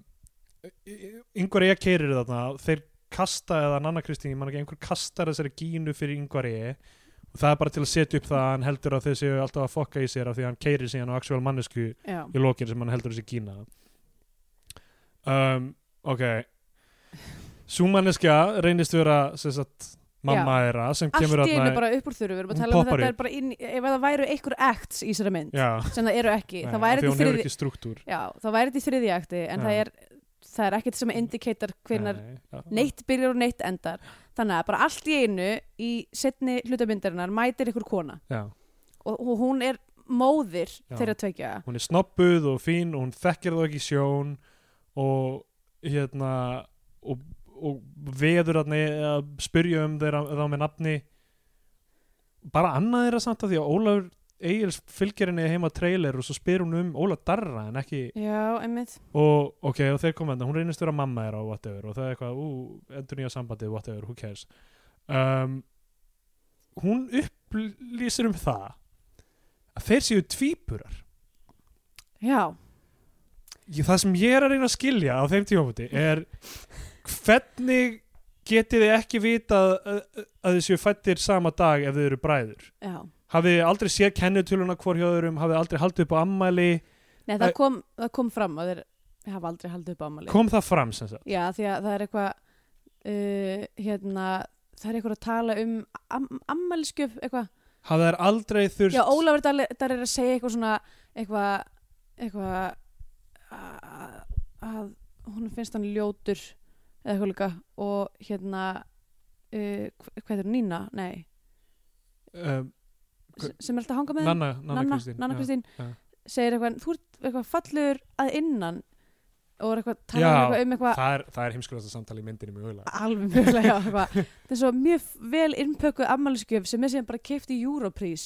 yngvar ég keirir E. þarna þeir kasta eða Nanna Kristín ég man ekki einhver kastar þessari gínu fyrir yngvar ég og það er bara til að setja upp það að hann heldur að þeir séu alltaf að fokka í sér af því að hann keirir síðan á actual mannesku Já, í lokin sem hann heldur þessi gína um, ok súmanneskja reynist vera sem sagt, mamma þeirra sem allt kemur í einu þarna- bara upp úr þurru við erum að Hún tala um að poppar þetta upp. er bara inn, í- ef það væru einhver acts í þessari mynd já, sem það eru ekki, nei, það af væri því þetta í hún hefur þriði ekki struktúr já, það væri þetta í þriði akti en Já. það er, það er ekkert sem indikator hvenar Nei, já. neitt byrjar og neitt endar þannig að bara allt í einu í setni hlutamyndarinnar mætir einhver kona já, og, og hún er móðir Já. þeirra tvekja hún er snobbuð og fín og hún þekkir þá ekki sjón og hérna og, og veður þarna í- að spyrja um þeirra þá með nafni bara annað þeirra samt að því að Ólafur Egils fylgir henni heima á trailer og svo spyr hún um Ólaf Darra en ekki já, einmitt og ok, og þeir koma hérna, hún reynist vera mamma þeirra og whatever og það er eitthvað, ú, endur nýja sambandið whatever, who cares um, hún upplýsir um það að þeir séu tvíburar já, ég, það sem ég er að reyna að skilja á þeim tímafóti er hvernig getið þið ekki vitað að, að þið séu fættir sama dag ef þið eru bræður já hafið þið aldrei séð kennutöluna hvor hjá öðrum hafið þið aldrei haldið upp á ammæli Nei, Æ. það kom, það kom fram að þeir hafa aldrei haldið upp ámali kom það fram sem sagt Já, því að það er eitthvað uh, hérna, það er eitthvað að tala um am ammælisgjöf eitthvað hafið þær aldrei þurft Já, Ólafur Dalir er að segja eitthvað svona eitthvað eitthvað að, að hún finnst hann ljótur eða eitthvað líka og hérna uh, hv- hvað er Nína? Nei, um, s- sem er alltaf að hanga með þeim. Nanna, Nanna, Kristín Nanna já. Kristín já. segir eitthvað, þú ert eitthvað fallur að innan og er eitthvað Já, talað eitthvað um eitthvað það er, það er heimskulegasta samtali í myndinni mjögulega alveg mjögulega já, eitthvað. þetta er svo mjög vel innpökkuð ammælisgjöf sem er síðan bara keift í Europrís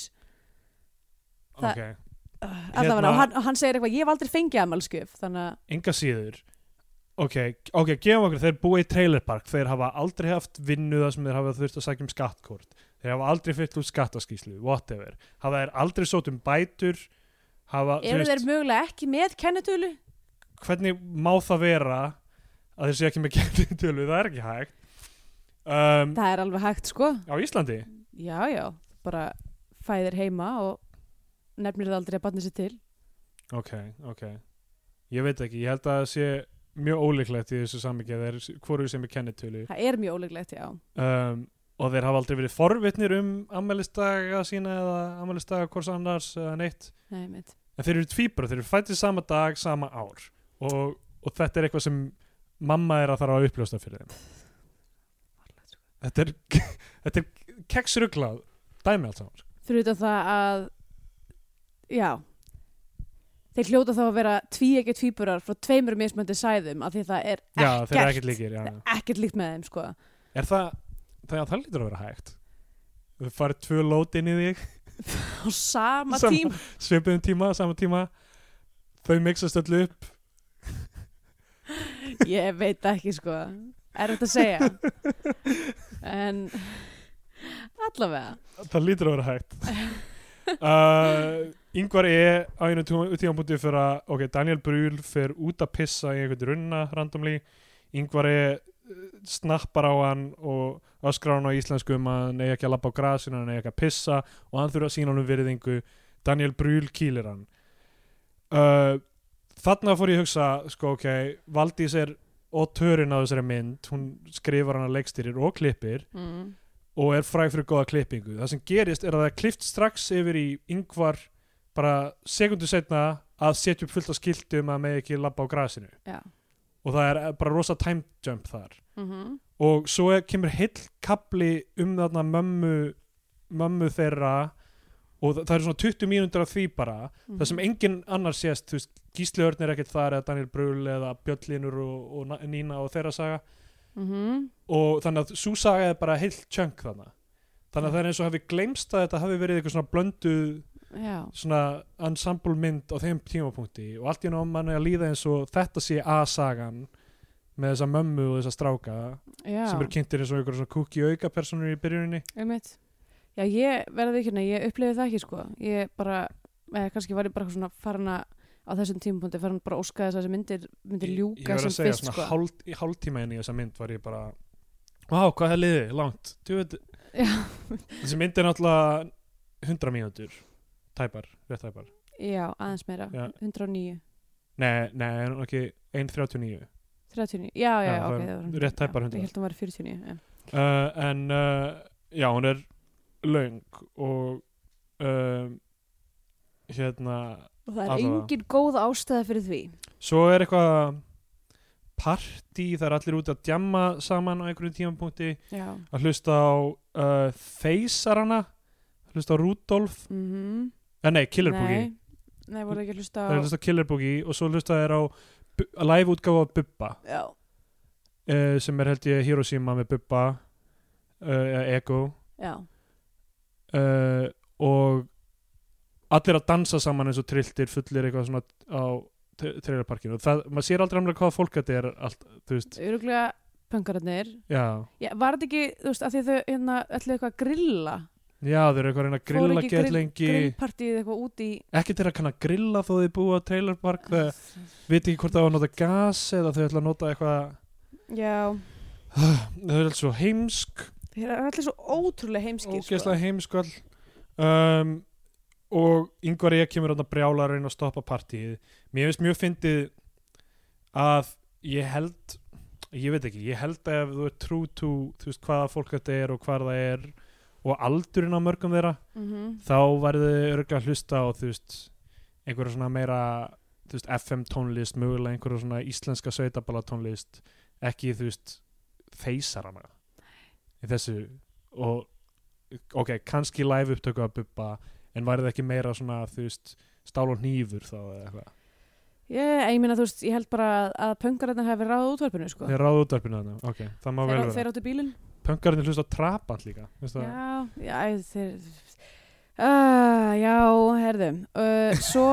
Það- okay. allavega, Hérna- og hann, og hann segir eitthvað ég hef aldrei fengið ammælisgjöf þannig að, enga síður ok, ok, gefum okkur, þeir búa í trailerpark þeir hafa aldrei haft vinnu það sem þeir hafa þurft að sækja um skattkort þeir hafa aldrei fyllt út skattaskíslu, whatever hafa þeir aldrei sótt um bætur hafa, þú eru þeir mögulega ekki með kennetölu? hvernig má það vera að þeir séu ekki með kennitölu, það er ekki hægt um, það er alveg hægt sko á Íslandi já, já, bara fæðir heima og nefnir það aldrei að batna sér til ok, ok ég veit ekki, ég held að það sé mjög ólíklegt í þessu samíki þeir hvoru sem er kennitölu það er mjög óleglegt, já um, og þeir hafa aldrei verið forvitnir um ammælistaga sína eða ammælistaga hvors annars eða neitt Nei, mitt. en þeir eru tvíbara, þeir eru fættið sama dag, sama ár og, og þetta er eitthvað sem mamma er að þarf að uppljósta fyrir þeim þetta er, þetta er keksruglað dæmi allt saman sko. fyrir utan það að já þeir hljóta þá að vera tví ekki tvíburar frá tveimur mismöndi sæðum af því það er já, ekkert, þeir eru ekkert líkir já, já. ekkert líkt með þeim sko er það, það, það lítur að vera hægt þau farið tvö lót inn í þig á sama, Sama. tíma svipuðum tíma, sama tíma þau mixast öllu upp ég veit ekki sko er þetta að segja en allavega það lítur að vera hægt uh, Yngvar E á einu tímanbúti fyrir að ok, Daniel Brühl fyrir út að pissa í einhvern runna randomli Yngvar E uh, snappar á hann og öskrar hann á íslensku um að hann eigi ekki að lappa á grasinu, hann eigi ekki að pissa og hann þurfa að sína hann um virðingu Daniel Brühl kýlir hann uh, þarna fór ég að hugsa sko ok, Valdís er og törin á þessari mynd, hún skrifar hann að leikstýrir og klippir mm. og er fræg fyrir góða klippingu það sem gerist er að það er klift strax yfir í yngvar bara sekundu setna að setja upp fullt af skiltum að með ekki labba á grasinu já og það er bara rosa time jump þar mm -hmm. og svo er, kemur heill kapli um þarna mömmu mömmu þeirra og það, það eru svona 20 mínútur af því bara það sem enginn annar sést þú veist, Gísli Örn er ekkert þar eða Daniel Brühl eða Bjöllinur og, og Na- Nína og þeirra saga mhm. og þannig að sú saga er bara heilt tjönk þannig þannig að það er eins og hafi gleymst að þetta hafi verið eitthvað svona blöndu já svona ensemble mynd á þeim tímapunkti og allt í náum manni að líða eins og þetta sé A-sagan með þessa mömmu og þessa stráka já sem eru kynntir eins og einhverjum svona kúki auka personur í byrjuninni Einmitt. Já, ég verði ekki, ég upplifið það ekki sko. Ég bara, eða kannski var ég bara eitthvað svona farin að á þessum tímapunkti farin bara að óska þess að þessi myndir, myndir ég ljúka var sem að segja fyrst svona sko. sko. hálf, í hálftíma inn í þessa mynd var ég bara Vá, hvað er liðið, langt Þú veit, Já, þessi mynd er náttúrulega 100 mínútur tæpar, rétt tæpar já, aðeins meira, Já. 109 Nei, nei, hún er ekki 1.39 39, já, já, Já, já, það ok er það var- rétt tæpar já, 100. Ég held að hún var 49 já. uh, en uh, já, hún er löng og um, hérna Og það er Allavega. engin góð ástæða fyrir því Svo er eitthvað partí, það er allir út að djamma saman á einhverjum tímapunkti Já að hlusta á uh, Þeysarana, hlusta á Rudolf mm -hmm. eh, nei, Killer Boogie, Nei, nei, voru ekki að hlusta það er á hlusta á Killer Boogie og svo hlusta þeir á Bu- live útgáfa af Bubba Já, uh, sem er held ég Hiroshima með Bubba uh, Ego já, uh, og allir að dansa saman eins og trilltir fullir eitthvað svona á trailerparkinu og það, maður sér aldrei amlega hvaða fólk þetta er allt, þú veist, öruglega pöngararnir já Já, var þetta ekki, þú veist, að því þau hérna ætluðu eitthvað að grilla Já, þeir eru eitthvað að reyna að Fóru grilla ekki gett lengi grillpartíð eitthvað út í Ekki til að kanna að grilla þó þið búa á trailerpark það veit ekki hvort það var að nota gas eða þau ætla að nota eitthvað Já, þau eru alls svo heimsk þeir eru allir svo ótrúlega heimskir sko. ógeðslega heimsk all um, og yngvar ég kemur að brjála að reyna að stoppa partíið Mér finnst mjög fyndið að ég held ég veit ekki, ég held að ef þú er true to þú veist hvaða fólk þetta er og hvar það er og aldurinn á mörgum þeirra sko. mm -hmm. þá verðu örgulega að hlusta á þú veist, einhverja svona meira þú veist, FM tónlist, mögulega einhverja svona íslenska sveitabala tónlist ekki þú veist þeysarana í þessu og ok, kannski live upptöku að bubba en væri það ekki meira svona þú veist, stál og hnífur þá eða eitthvað Ég, ég meina, þú veist, ég held bara að, að pöngararnir hafi ráð útvarpinu, sko þeir ráðu útvarpinu þarna, ok, það má vel Þeir, vera þeir áttu bílinn pöngarinn hlusta á trapant líka veistu það? Já, já, æ, þeir uh, Já, herðu uh, Svo,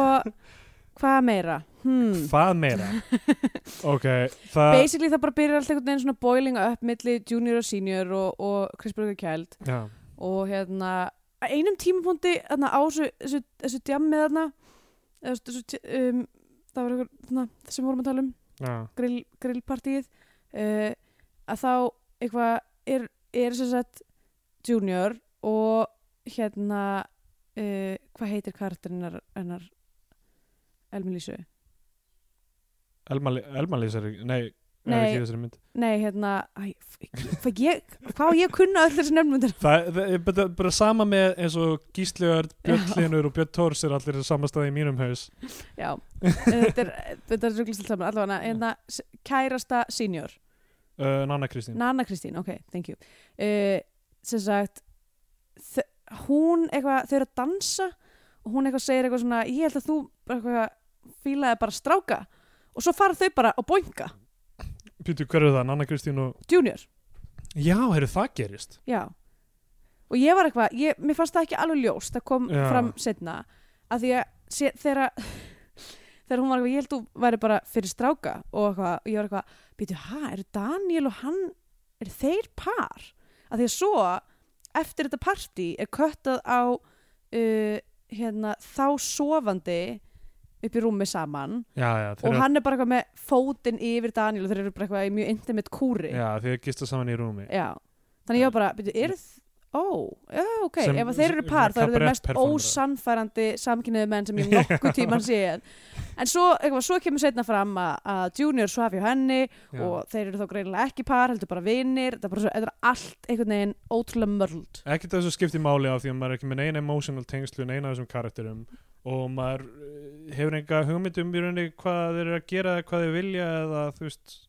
hvað meira? Hmm. hvað meira ok, það Basically það bara byrjar allt einhvern veginn svona boiling up milli junior og senior og, og Chris Burger Kjeld já, og hérna að einum tímapunkti þarna, á þessu, þessu, þessu djammi þarna eða þessu- þessu, um, það var eitthvað þarna, sem við vorum að tala um já, grill, grillpartíð uh, að þá eitthvað er, er sem sagt junior og hérna uh, hvað heitir karakterinn hennar Elmilísu Elma, Elma lýsar nei, nei. Nei. ekki í þessari mynd nei hérna æ, f- hvað ég, hvað á ég að kunna öll þessi nefnmyndir Það það er bara, bara sama með eins og Gísliðar, Björn Já. Hlinur og Björn Tórs er allir í sama staði í mínum haus Já, eh, þetta er, þetta er ruglist allt saman, allavega, hérna, s- kærasta senior, uh, Nanna Kristín Nanna Kristín, ok, thank you, uh, sem sagt, þ- hún eitthvað, þau eru að dansa og hún eitthvað segir eitthvað svona, ég held að þú bara eitthvað fílaði bara stráka og svo fara þau bara að boinga, Pítur, hver er það? Nanna Kristín og junior, Já, heyrðu, það gerist já. Og ég var eitthvað, ég, mér fannst það ekki alveg ljóst, það kom Já. fram setna, að því að sé, þegar þegar hún var eitthvað, ég held þú væri bara fyrir stráka og eitthvað, og ég var eitthvað, býtu, hæ, eru Daniel og hann, eru þeir par? Að því að svo, eftir þetta partí er köttað á uh, hérna, þá sofandi upp í rúmi saman Já, já, og þeir, hann er bara eitthvað með fótinn yfir Daniel og þeir eru bara eitthvað í mjög intimate kúri já, þeir gista saman í rúmi Já, þannig ég var bara, byrju, eru þ... Ó, já, ok, Sem- ef að þeir eru par þá eru þeir kabarett mest performerar. ósannfærandi samkynniðu menn sem ég nokkuð tíman séð En svo, eitthvað, svo kemur setna fram að, að Junior svaf hjá henni Já. og þeir eru þá greinilega ekki par, heldur bara vinir Það er bara svo, þetta er allt einhvern veginn ótrúlega mörld Ekki þessu skipti máli á því að maður er ekki með neina emotional tengslu neina af þessum karakterum og maður eh, hefur enga hugmynd um í rauninni hvað þeir eru að gera eða hvað þeir vilja eða þú veist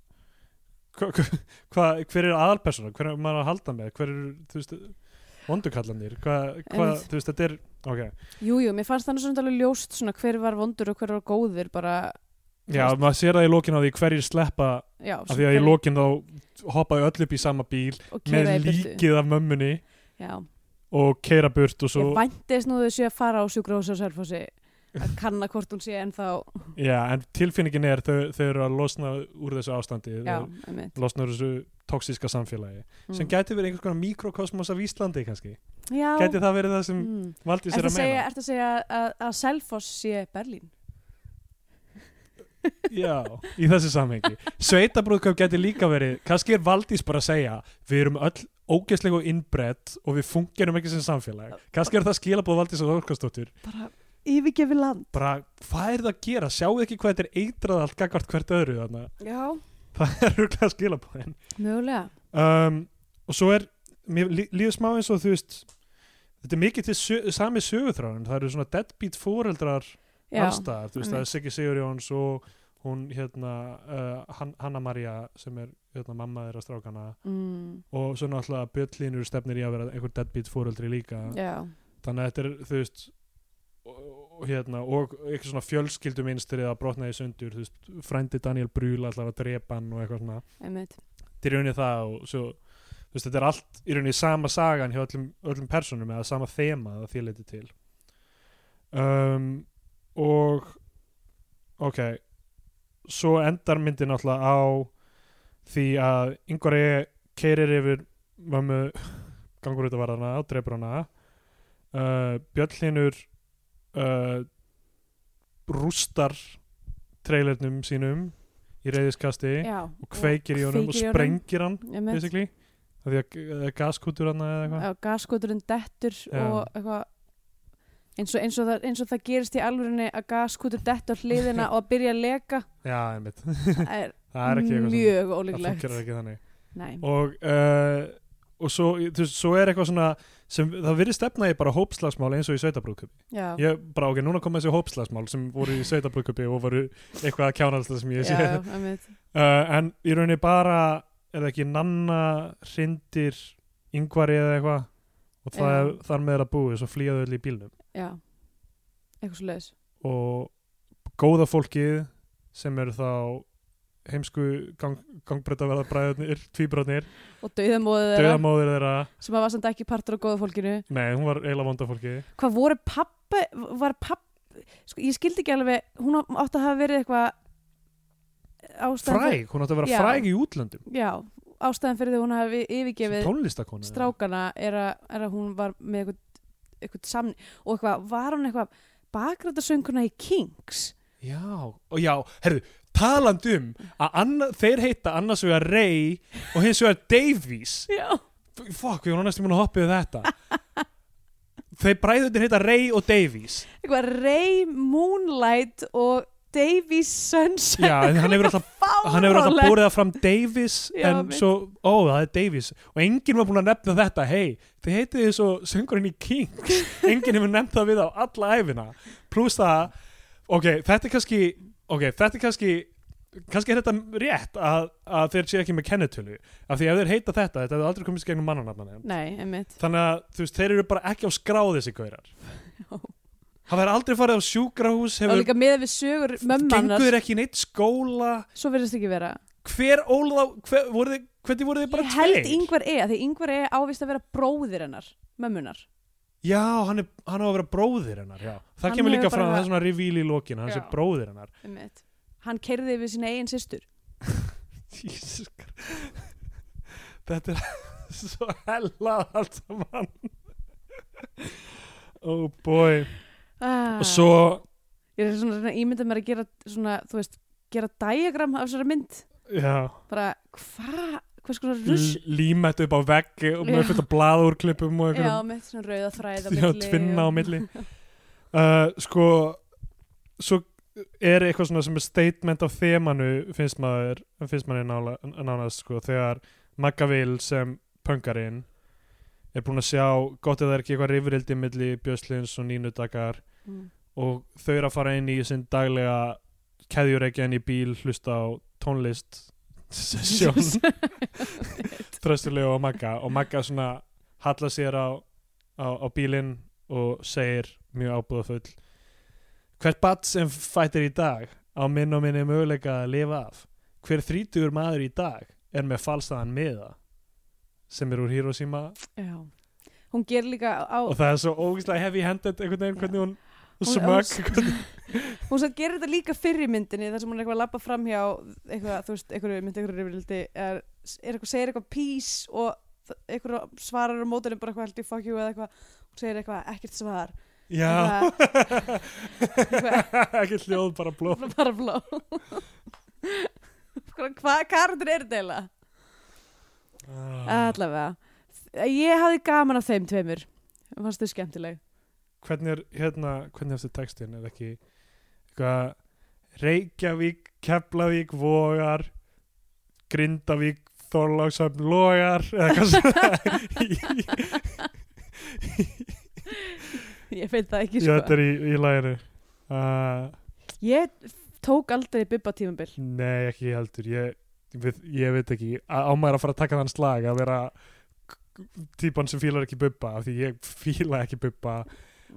hva, hva, hva, hver er aðalpersona, hver er maður að halda með hver er, þú veist, vondukallanir hvað, hva, Einmitt. þú veist, þetta er ok, Jú, jú, mér fannst þannig svona alveg ljóst svona hver var vondur og hver var góður bara, Þú Já, veist- maður sér það í lokin á því hverjir sleppa já af því að í lokin þá hoppaðu öll upp í sama bíl með líkið af mömmunni Já, og keira burt og svo ég væntist nú þau séu að fara á sjúkrahús og sérfósi að kanna hvort hún sé ennþá Já, en tilfinningin er þau, þau eru að losna úr þessu ástandi Já, þau einmitt. losna úr þessu toksíska samfélagi sem gæti verið einhvers konar mikrokosmos af Íslandi kannski Já, gæti það verið það sem mm. valdi Ertu sér að að segja, meina ertu að segja að, að Selfoss sé Berlín? Já, í þessu samhengi Sveitabrúðköp gæti líka verið kannski er Valdís bara að segja við erum öll ógeðslega og innbrett og við fungerum ekki sem samfélag kannski er það skilabóð Valdís og Þorkastóttur Bara yfirgefi land bara hvað er það að gera, sjáu ekki hvað þetta er eitrað allt gagvart hvert öðru þarna Já, það er rúglega skilabóðin mögulega um, og svo er, mér lí- líður smá eins og þú veist þetta er mikið til sö sami söguþráðin, það eru svona deadbeat foreldrar Já, allstaðar, þú veist, það einmitt. er Siggi Sigurjóns og hún, hérna uh, Han- Hanna María sem er hérna, mamma þeirra strákana mm, og svo náttúrulega Björnlínur stefnir í að vera einhver deadbeat foreldri líka já. þannig að þetta er, þú veist og, og- hérna, og eitthvað svona fjölskyldumynstri að brotna í sundur, þú veist, frændi Daniel Brühl allar að drepa hann og eitthvað svona einmitt þetta er í rauninni það og svo þú veist, þetta er allt í rauninni sama sagan hjá öllum, öllum personum eða sama þema að því leiti til um, og ok svo endar myndin náttúrulega á því að yngvari keirir yfir mömmu gangur út að varðana og dreipur hana uh, Bjöllinur uh, rústar trailernum sínum í reyðiskasti já. og kveikir í honum og kveikir í honum. sprengir hann Einmitt. basically af því að það er gaskútur hann eða eitthvað Já, gaskoturinn dettur Já. og eitthvað eins og, eins, og það, eins og það gerist í alvörinni að gaskotur dettur á hliðina og að byrja að leka já, einmitt, það er, það er ekki eitthvað sem- mjög það ólíklegt funkar ekki þannig Nei, og, uh, og svo, þú veist, svo er eitthvað svona sem það virðist stefna í bara hópslagsmál eins og í sveitabrúkupi já, ég bara ok, núna kom þessi hópslagsmál sem voru í sveitabrúkupi og voru eitthvað að kjánalsta sem ég sé já, einmitt uh, en í rauninni bara er það ekki nanna hrindir yngvari eða eitthvað og það Já. er þar með er að búið svo flýjaðu öll í bílnum já, eitthvað svo leiðis og góða fólkið sem eru þá heimsku gang, gangbreytaverðarbræðunir, tvíbröðnir, og dauðamóðið þeirra döðamóðir þeirra sem að var samt ekki partur á góða fólkinu nei, hún var eiginlega vonda fólkið hvað voru pappa var pappa, sko, ég skildi ekki alveg hún á- átti að hafa verið eitthvað ástæðan fyrir- fræg, hún átti að vera Já. fræg í útlöndum já, ástæðan fyrir því að hún hafi sem yfirgefið tónlistakonu strákana er að, er að hún var með eitthvað, eitthvað samni og eitthvað, var hún eitthvað bakrættarsönguna í Kings já, og já, herðu, talandi um að anna, þeir heita annars vegar Ray og hins vegar Davies já, F- fuck, ég var næstum búin að hoppa yfir þetta þeir bræðunir heita Ray og Davies eitthvað Ray Moonlight og Davy Sunset já, en hann hefur alltaf Fáránlegt. hann hefur alltaf borið það fram Davis Já, en mitt. svo, ó það er Davis og enginn var búin að nefna þetta, hei þið heitið þið svo söngurinn í Kings enginn hefur nefnt það við á alla æfina pluss það, ok, þetta er kannski ok, þetta er kannski kannski er þetta rétt að, að þeir séu ekki með kennetölu, af því ef þeir heita þetta þetta hefur aldrei komist í gegnum mannanafnan nei, einmitt þannig að þú veist, þeir eru bara ekki á skráð þessi gaurar hafa þeir aldrei farið á sjúkrahús og hefur, líka með við sögur gengur mömmannar þeir ekki í neitt skóla svo verðist ekki vera hver ólða hver, voru þið, hvernig voru þið bara ég held tveir? yngvar E því yngvar E ávist að vera bróðir hennar mömmunar já, hann, er, hann á að vera bróðir hennar já. það Hann kemur hefur líka bara- fram, það er svona revíl í lokin hann Já. sé bróðir hennar einmitt. hann kerði við sína eigin systur Jesus Christ. þetta er svo hella allt saman oh boy ah. og svo, ég er svona að reyna að ímynda mér að gera svona, þú veist, gera diagram af þessari mynd já bara hvað, hvers konar rusl l- límet upp á veggi og Já. með fullt af blaðúrklippum og já, einhverjum með svona rauða þræð á já, milli tvinna á og- milli uh, sko svo er eitthvað svona sem er statement af þemanu finnst maður finnst maður nála, nánast sko þegar Magavil sem pöngarinn er búin að sjá gott ef það er ekki eitthvað rifrildi milli Björslins og Nínu Dakar Mm. og þau eru að fara inn í sinn daglega keðjureikjan í bíl hlusta á tónlist sesjón tröstulegu og Magga og Magga svona hallar sér á, á, á bílinn og segir mjög ábúðafull hvert bat sem fættir í dag á minn og minni möguleika að lifa af hver þrítugur maður í dag er með falsaðan miða sem er úr Hiroshima já. hún gerir líka á og það er svo ógislega heavy handed einhvern veginn hvernig hún Hún- smög hún satt gerir þetta líka fyrir myndinni þar sem hún er eitthvað að labba fram hjá eitthvað, þú veist, einhverju mynd, einhverju rifrildi er, er eitthvað, segir eitthvað peace og þ- einhverju svarar á mótunum bara eitthvað held í fuck you eða eitthvað hún segir eitthvað, ekkert svar já ekki hljóð bara blóð bara bara blá hvað karantur er þetta eiginlega? Ah. Allavega. Ég hafði gaman af þeim tveimur. Mér fannst þau skemmtileg. hvernig er hérna hvernig er þetta textin er ekki eitthvað Reykjavík, Keflavík, Vogar Grindavík Þorláksöfn Logar eða hvað sem ég veit það ekki Já, sko þetta er í, í læginu uh, ég tók aldrei bubba tímabil Nei, ekki heldur ég, við, ég veit ekki, á maður að fara að taka þann slag að vera típan sem fílar ekki bubba af því ég fíla ekki bubba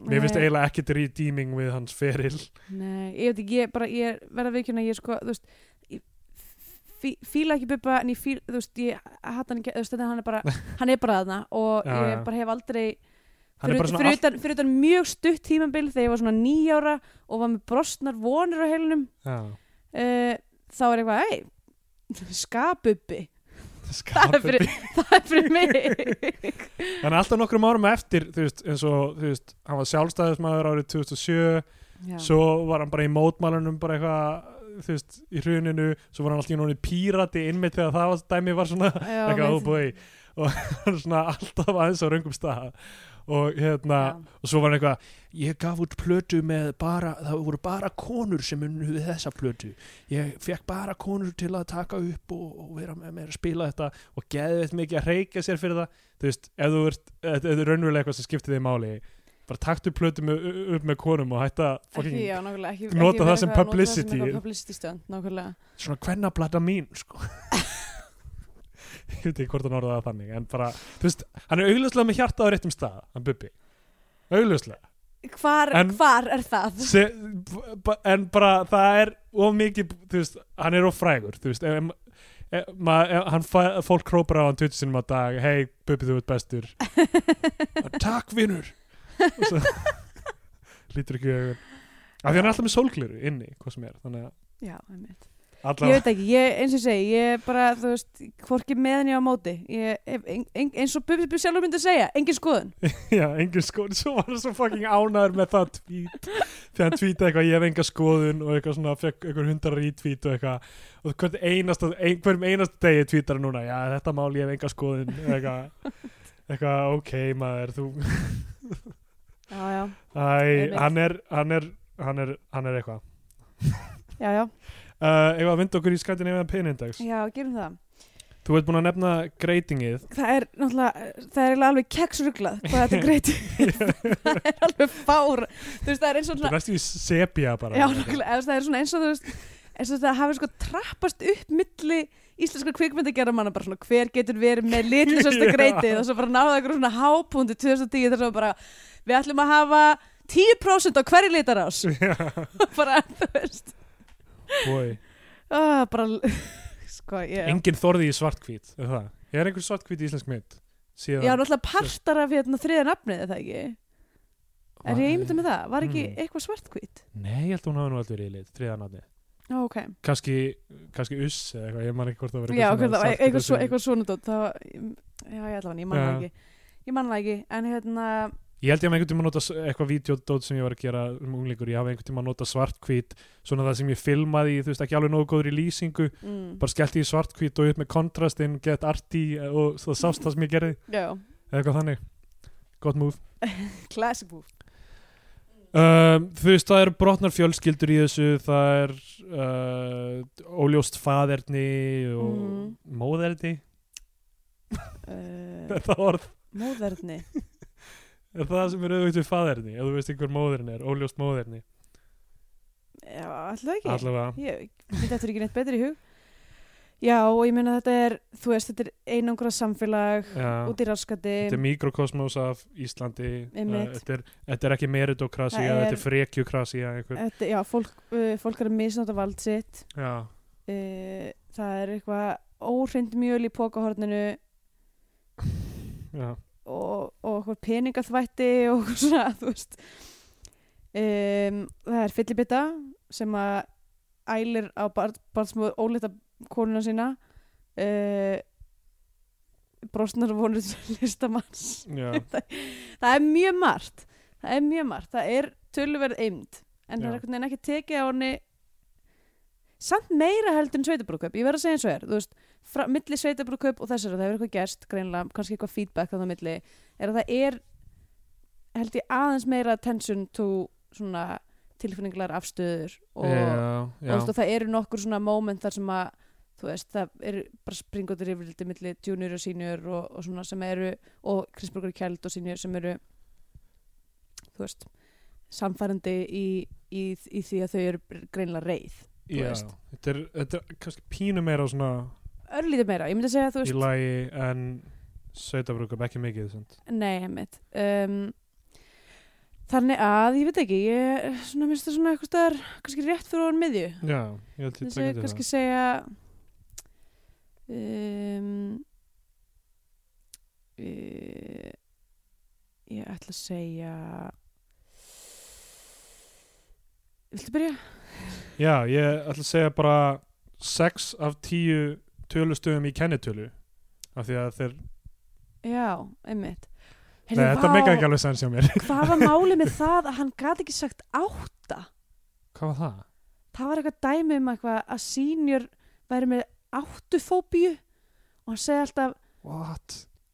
mér finnst eiginlega ekkert redeeming við hans feril Nei, ég veit ekki, ég bara, ég er- verð að veikjuna, ég sko, þú veist, ég fí, fíla ekki Bubba, en ég fíla, þú veist, ég hatt hann ekki, þú veist, þetta hann er bara, hann er bara þarna og Já, ég já. bara hef aldrei, hann fyrir, er bara fyrir, svona allt utan, fyrir utan mjög stutt tímabil þegar ég var svona nýjára og var með brostnar vonir á heilinum, Já. uh, þá er eitthvað, ei, skabubbi, það er Skapið fyrir, það er fyrir mig. Þannig alltaf nokkrum árum eftir þú veist, eins og þú veist, hann var sjálfstæðismæður árið 2007, Já. svo var hann bara í mótmælunum bara eitthvað þú veist, í hruninu, svo var hann alltaf í nóni pírati innmitt þegar það var, dæmi var svona Já, eitthvað með- óbúi og hann svona alltaf aðeins á raungum staða og hérna, Já. og svo var hann eitthvað ég gaf út plötu með bara það voru bara konur sem unnu við þessa plötu ég fekk bara konur til að taka upp og, og vera með mér að spila þetta og geðið mikið að reyka sér fyrir það þú veist, ef þú ert, ef þú er raunverulega eitthvað sem skiptir þig máli bara taktu plötu með, upp með konum og hætta Ekki, fucking, já, nákvæmlega, ekki, Nota ekki vera það sem eitthvað- nota publicity. eitthvað publicity stönd, nákvæmlega. svona kvennablata mín sko ég veit ekki hvort hann orðaði það þannig en bara, þú veist, hann er augljóslega með hjarta á réttum stað, hann Bubbi augljóslega, Hvar, En- hvar er það? Se, ba- en bara það er of mikið, þú veist, hann er of frægur þú veist, ef, ef, ma, ef hann fæ, fólk krópar á hann tutsinum á dag hei Bubbi þú ert bestur takk vinnur og svo lítur ekki í augun af því hann er alltaf með sólgliru inni, hvað sem er þannig að Já, einmitt. Ég allavega, veit ekki, ég, eins og ég segi, ég er bara, þú veist, hvorki meðan ég á móti. Ég, hef en, en, eins og Bubi Bubi sjálfur myndi að segja, engin skoðun. já, engin skoðun svo var hann svo fucking ánæður með það tweet því hann tweetaði eitthvað, ég hef enga skoðun og eitthvað svona, fekk einhver hundar retweet og eitthvað, og hvern einasta ein, hverjum einasta degi tweetar hann núna já, þetta mál, ég hef enga skoðun eitthvað, eitthvað ok, maður þú, Já, já, æ, Einmitt. hann er hann er, hann er, hann er eitthvað já, já, uh, ef að vinda okkur í skandinu meðan penindex já, gerum það. þú ert búin að nefna greitingið Það er náttúrulega, það er eiginlega alveg keksruglað hvað þetta er greit. það er alveg fár. Þú veist, það er eins og þetta svona, er næstu í sepja bara já, nákvæmlega, eða þú veist, það er svona eins og þú veist, eins og það hafi sko trappast upp milli íslenskar kvikmyndagerðar manna bara svona hver getur verið með litlisasta Já. greitið og svo bara náða eitthvað svona hápúndi 2010 þar sem bara við ætlum að hafa 10% á hverju litarás já, bara, þú veist boi ah, bara, sko, ég enginn þorði í svartkvít er það? Ég er einhver svartkvít í íslensk mynd ég síðan var náttúrulega partar af hérna þriða nafnið er það ekki er ég einmyndið með það, var ekki Mm. eitthvað svartkvít Nei, ég held að hún hafi nú aldrei verið í lit, þriða nafni já, ok, kannski, kannski uss eða eitthvað, ég man ekki hvort það var já, ok, það var svartkvít eitthvað, svo, sem- eitthvað svona dót, það var, já, ég ætla hann, ég manna Já. það ekki ég manna það ekki, en hérna Ég held ég að einhvern tíma nota s- eitthvað vídeodót sem ég var að gera um unglingur, ég hafi einhvern tíma nota svartkvít svona það sem ég filmaði, í, þú veist, ekki alveg nógu góður í lýsingu, mm, bara skellti í svartkvít og upp með kontrastinn, get arti og svo það sást það sem ég gerði, já, eða eitthvað þannig gott múf classic move Um, þú veist, það eru brotnar fjölskyldur í þessu, það er uh, óljóst faderni og mm. Mhm. móðerni, uh, þetta orð móðverðni er það sem er auðvitað við faderni, ef þú veist einhver móðerni er, óljóst móðerni, já, ætla það ekki allavega. ég veit eftir ekki neitt betur í hug já og ég meina þetta er þú veist þetta er einangra samfélag Já. út í raskati Þetta er mikrokosmos af Íslandi, uh, Einmitt. þetta, er, þetta er ekki meritokrasi, Það þetta er- er frekjokrasi, einhver, þetta, já, fólk, uh, fólk er að misnáta vald sitt já, uh, það er eitthvað óhreind mjöl í pókahorninu já, og, og eitthvað peningaþvætti og eitthvað svona þú veist um, það er fyllibita sem að ælir á barnsmóð ólita konuna sína uh, brostnar vonur listamanns já, það er mjög margt það er mjög margt, það er töluverð eimd en það Já. er einhvern veginn ekki tekið á henni samt meira heldur en sveitabrúköp ég verð að segja eins og er, þú veist frá, milli sveitabrúköp og þessari, það hefur eitthvað gerst greinlega, kannski eitthvað feedback þannig á milli er að það er held ég aðeins meira attention to svona tilfinningar afstöður og, já, og, þú já, veist, og það eru nokkur svona moment þar sem að þú veist, það eru bara springotur yfirliti milli junior og senior og, og svona sem eru, og Kristborgar Kjeld og senior sem eru þú veist, samfærandi í, í, í því að þau eru greinlega reið, þú Já, veist. þetta er, þetta er kannski pínu meira svona örlítið meira, ég myndi að segja þú í veist, lagi en sveitabrúkum, ekki mikið sent. nei, heimitt um, þannig að, ég veit ekki ég, svona, minnst það svona eitthvað staðar, kannski rétt fyrir ofan miðju Já, ég held ég Þessi tekið kannski þetta segja um, uh, Ég ætla að segja Viltu byrja? Já, ég ætla að segja bara 6 af 10 tölustöðum í kennitölu af því að þeir, Já, einmitt nei, þetta meika ekki alveg sens hjá mér Hvað var málið með það að hann gat ekki sagt átta? Hvað var það? Það var eitthvað dæmi um eitthvað að senior væri með áttufóbíu og hann segi alltaf What?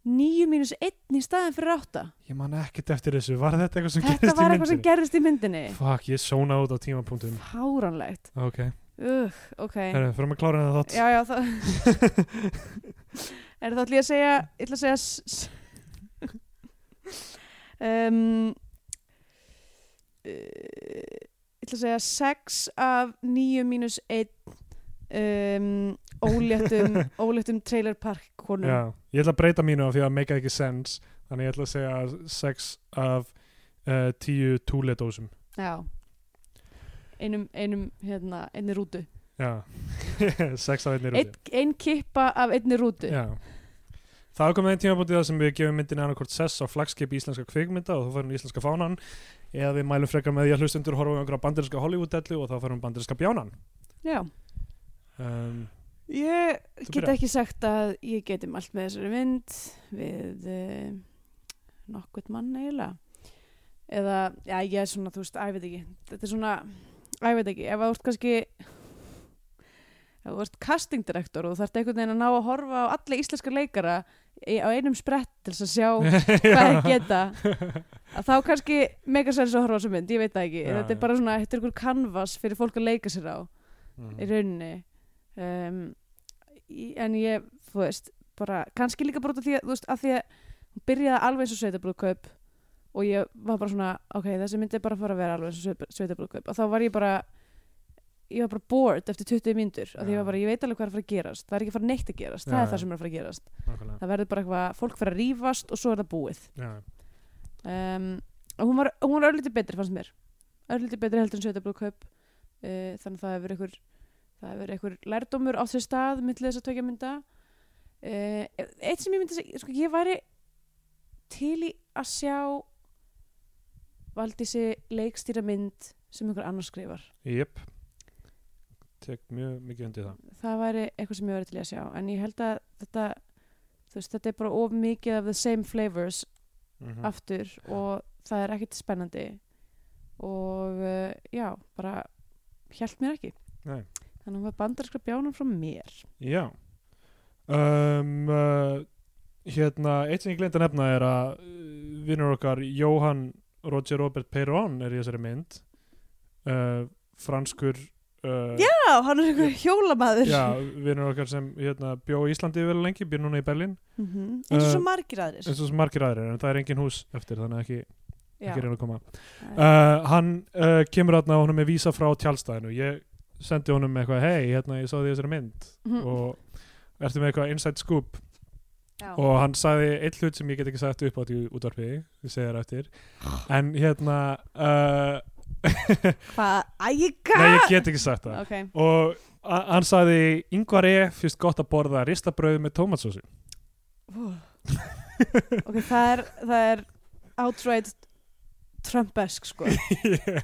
níu mínus einn í staðin fyrir átta Ég man ekkert eftir þessu, var þetta eitthvað sem Þetta gerist í var eitthvað sem myndinni? gerðist í myndinni Fuck, ég sóna út á tímapunktum Háranlegt Ok, Ugh, ok herru, fyrir að klára þetta þátt Já, já, það Er það ætla ég að segja Ég ætla að segja s- s- um, uh, Ég ætla að segja 6 af 9 mínus 1 um, óléttum óléttum trailer park konum Já, ég ætla að breyta mínu af því að það meika ekki sens þannig ég ætla að segja 6 af uh, 10 túledósum Já. Einum, einum, hérna, einni rútu Já, 6 af 1 er Ein, ein kippa af einni rútu Já. Það er komið einn tímabútið það sem við gefum myndinni annarkort sess á flagskip íslenska kvikmynda og þá færum við íslenska fánan eða við mælum frekar með því að hlustundur horfum við einhverja bandarinska Hollywood-dellu og þá færum við bandarinska bjánan Já. um, Ég get Þú byrjar. ekki sagt að ég geti mælt með þessari mynd við uh, nokkvert mann eiginlega eða, já, ég er svona, þú veist, að ég veit ekki þetta er svona, að ég veit ekki ef þú ert kannski ef þú ert casting director og þú þarft einhvern veginn að ná að horfa á alla íslenska leikara í, á einum sprett til þess að sjá hvað Já, þeir geta að þá kannski megasens að horfa á þessu mynd, ég veit það ekki Já, þetta já. er bara svona, þetta er einhver canvas fyrir fólk að leika sér á í Mhm. rauninni um, í- en ég, þú veist bara, kannski líka bara út af því að, þú veist, að því að hún byrjaði alveg eins og sveitabrúðkaup og ég var bara svona ok, þessi myndi er bara að fara að vera alveg eins og sveitabrúðkaup og þá var ég bara ég var bara bored eftir 20 mínútur og því ég Já. var bara, ég veit alveg hvað er að fara að gerast það er ekki að fara neitt að gerast, Já, það er já. það sem er að fara að gerast Nákvæmlega. það verður bara eitthvað, fólk fyrir að rífast og svo er það búið Já. um, og hún var, hún var örlítið betri fannst mér örlítið betri heldur en sveitablóð kaup uh, þannig að það hefur einhver það hefur einhver lærdómur á því stað millir þess að tvekja mynda uh, eitt sem ég myndi segja, sko ég væri til í að sjá Valdísi leikstýra mynd sem einhver annars skrifar Jep Tek mjög mikið undir það það væri eitthvað sem ég væri til í að sjá en ég held að þetta þú veist, þetta er bara of mikið af the same flavors Mhm. aftur og það er ekkert spennandi og uh, já, bara hjælt mér ekki Nei. þannig að hún var bandarskra bjánum frá mér Já um, uh, Hérna, eitt sem ég gleyndi að nefna er að uh, vinnur okkar Jóhann Roger Robert Peyron er í þessari mynd uh, franskur uh, Já, hann er einhver hjólamaður já vinnur okkar sem hérna, bjó í Íslandi vel lengi, býr núna í Berlín eins og Eh, svo margir aðrir eins og sem margir aðrir, en það er engin hús eftir þannig að ekki, já, ekki reyna að koma uh, uh, Hann uh, kemur aðna og honum er vísa frá tjálstæðinu ég sendi honum eitthvað, hei, hérna ég sá því þessari mynd Mhm. og ertu með eitthvað inside scoop já. og hann sagði eitt hlut sem ég get ekki sagt upp á því útvarfi við segja það eftir en hérna uh, hvað, ægika nei ég get ekki sagt það ok, og a- hann sagði yngvar er fyrst gott að borða ristabröð með tómatsósu ok, það er það er outright Trumpesk sko fyrir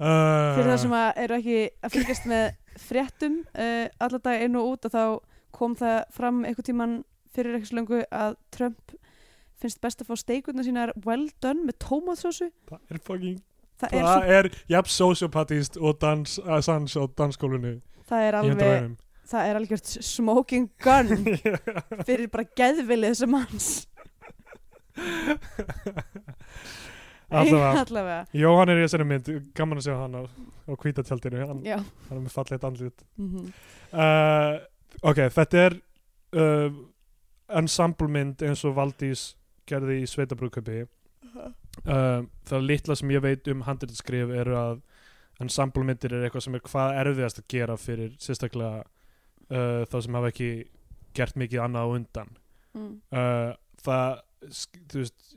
uh, það sem að eru ekki að fylgjast með fréttum uh, alla dag inn og út að þá kom það fram einhvern tíman fyrir ekki slöngu að Trump finnst best að fá steikurnar sínar well done með tómatsósu það er fucking það er, það er jafn sociopatist og dans, uh, sans á danskólinu svo, það er í alveg hundraðum það er algjört smoking gun fyrir bara geðvilið þessa manns allavega, allavega. Jóhann er í þessari mynd gaman að sjá hann á, á kvítatjaldinu hann, Já. hann er með fallegt andlit Mm uh, ok, þetta er uh, ensemblemynd eins og Valdís gerði í Sveitabrúköpi uh, það litla sem ég veit um handritskrif eru að ensemblemyndir er eitthvað sem er hvað erfiðast að gera fyrir sérstaklega uh, þá sem hafa ekki gert mikið annað á undan mm. uh, það sk- þú veist,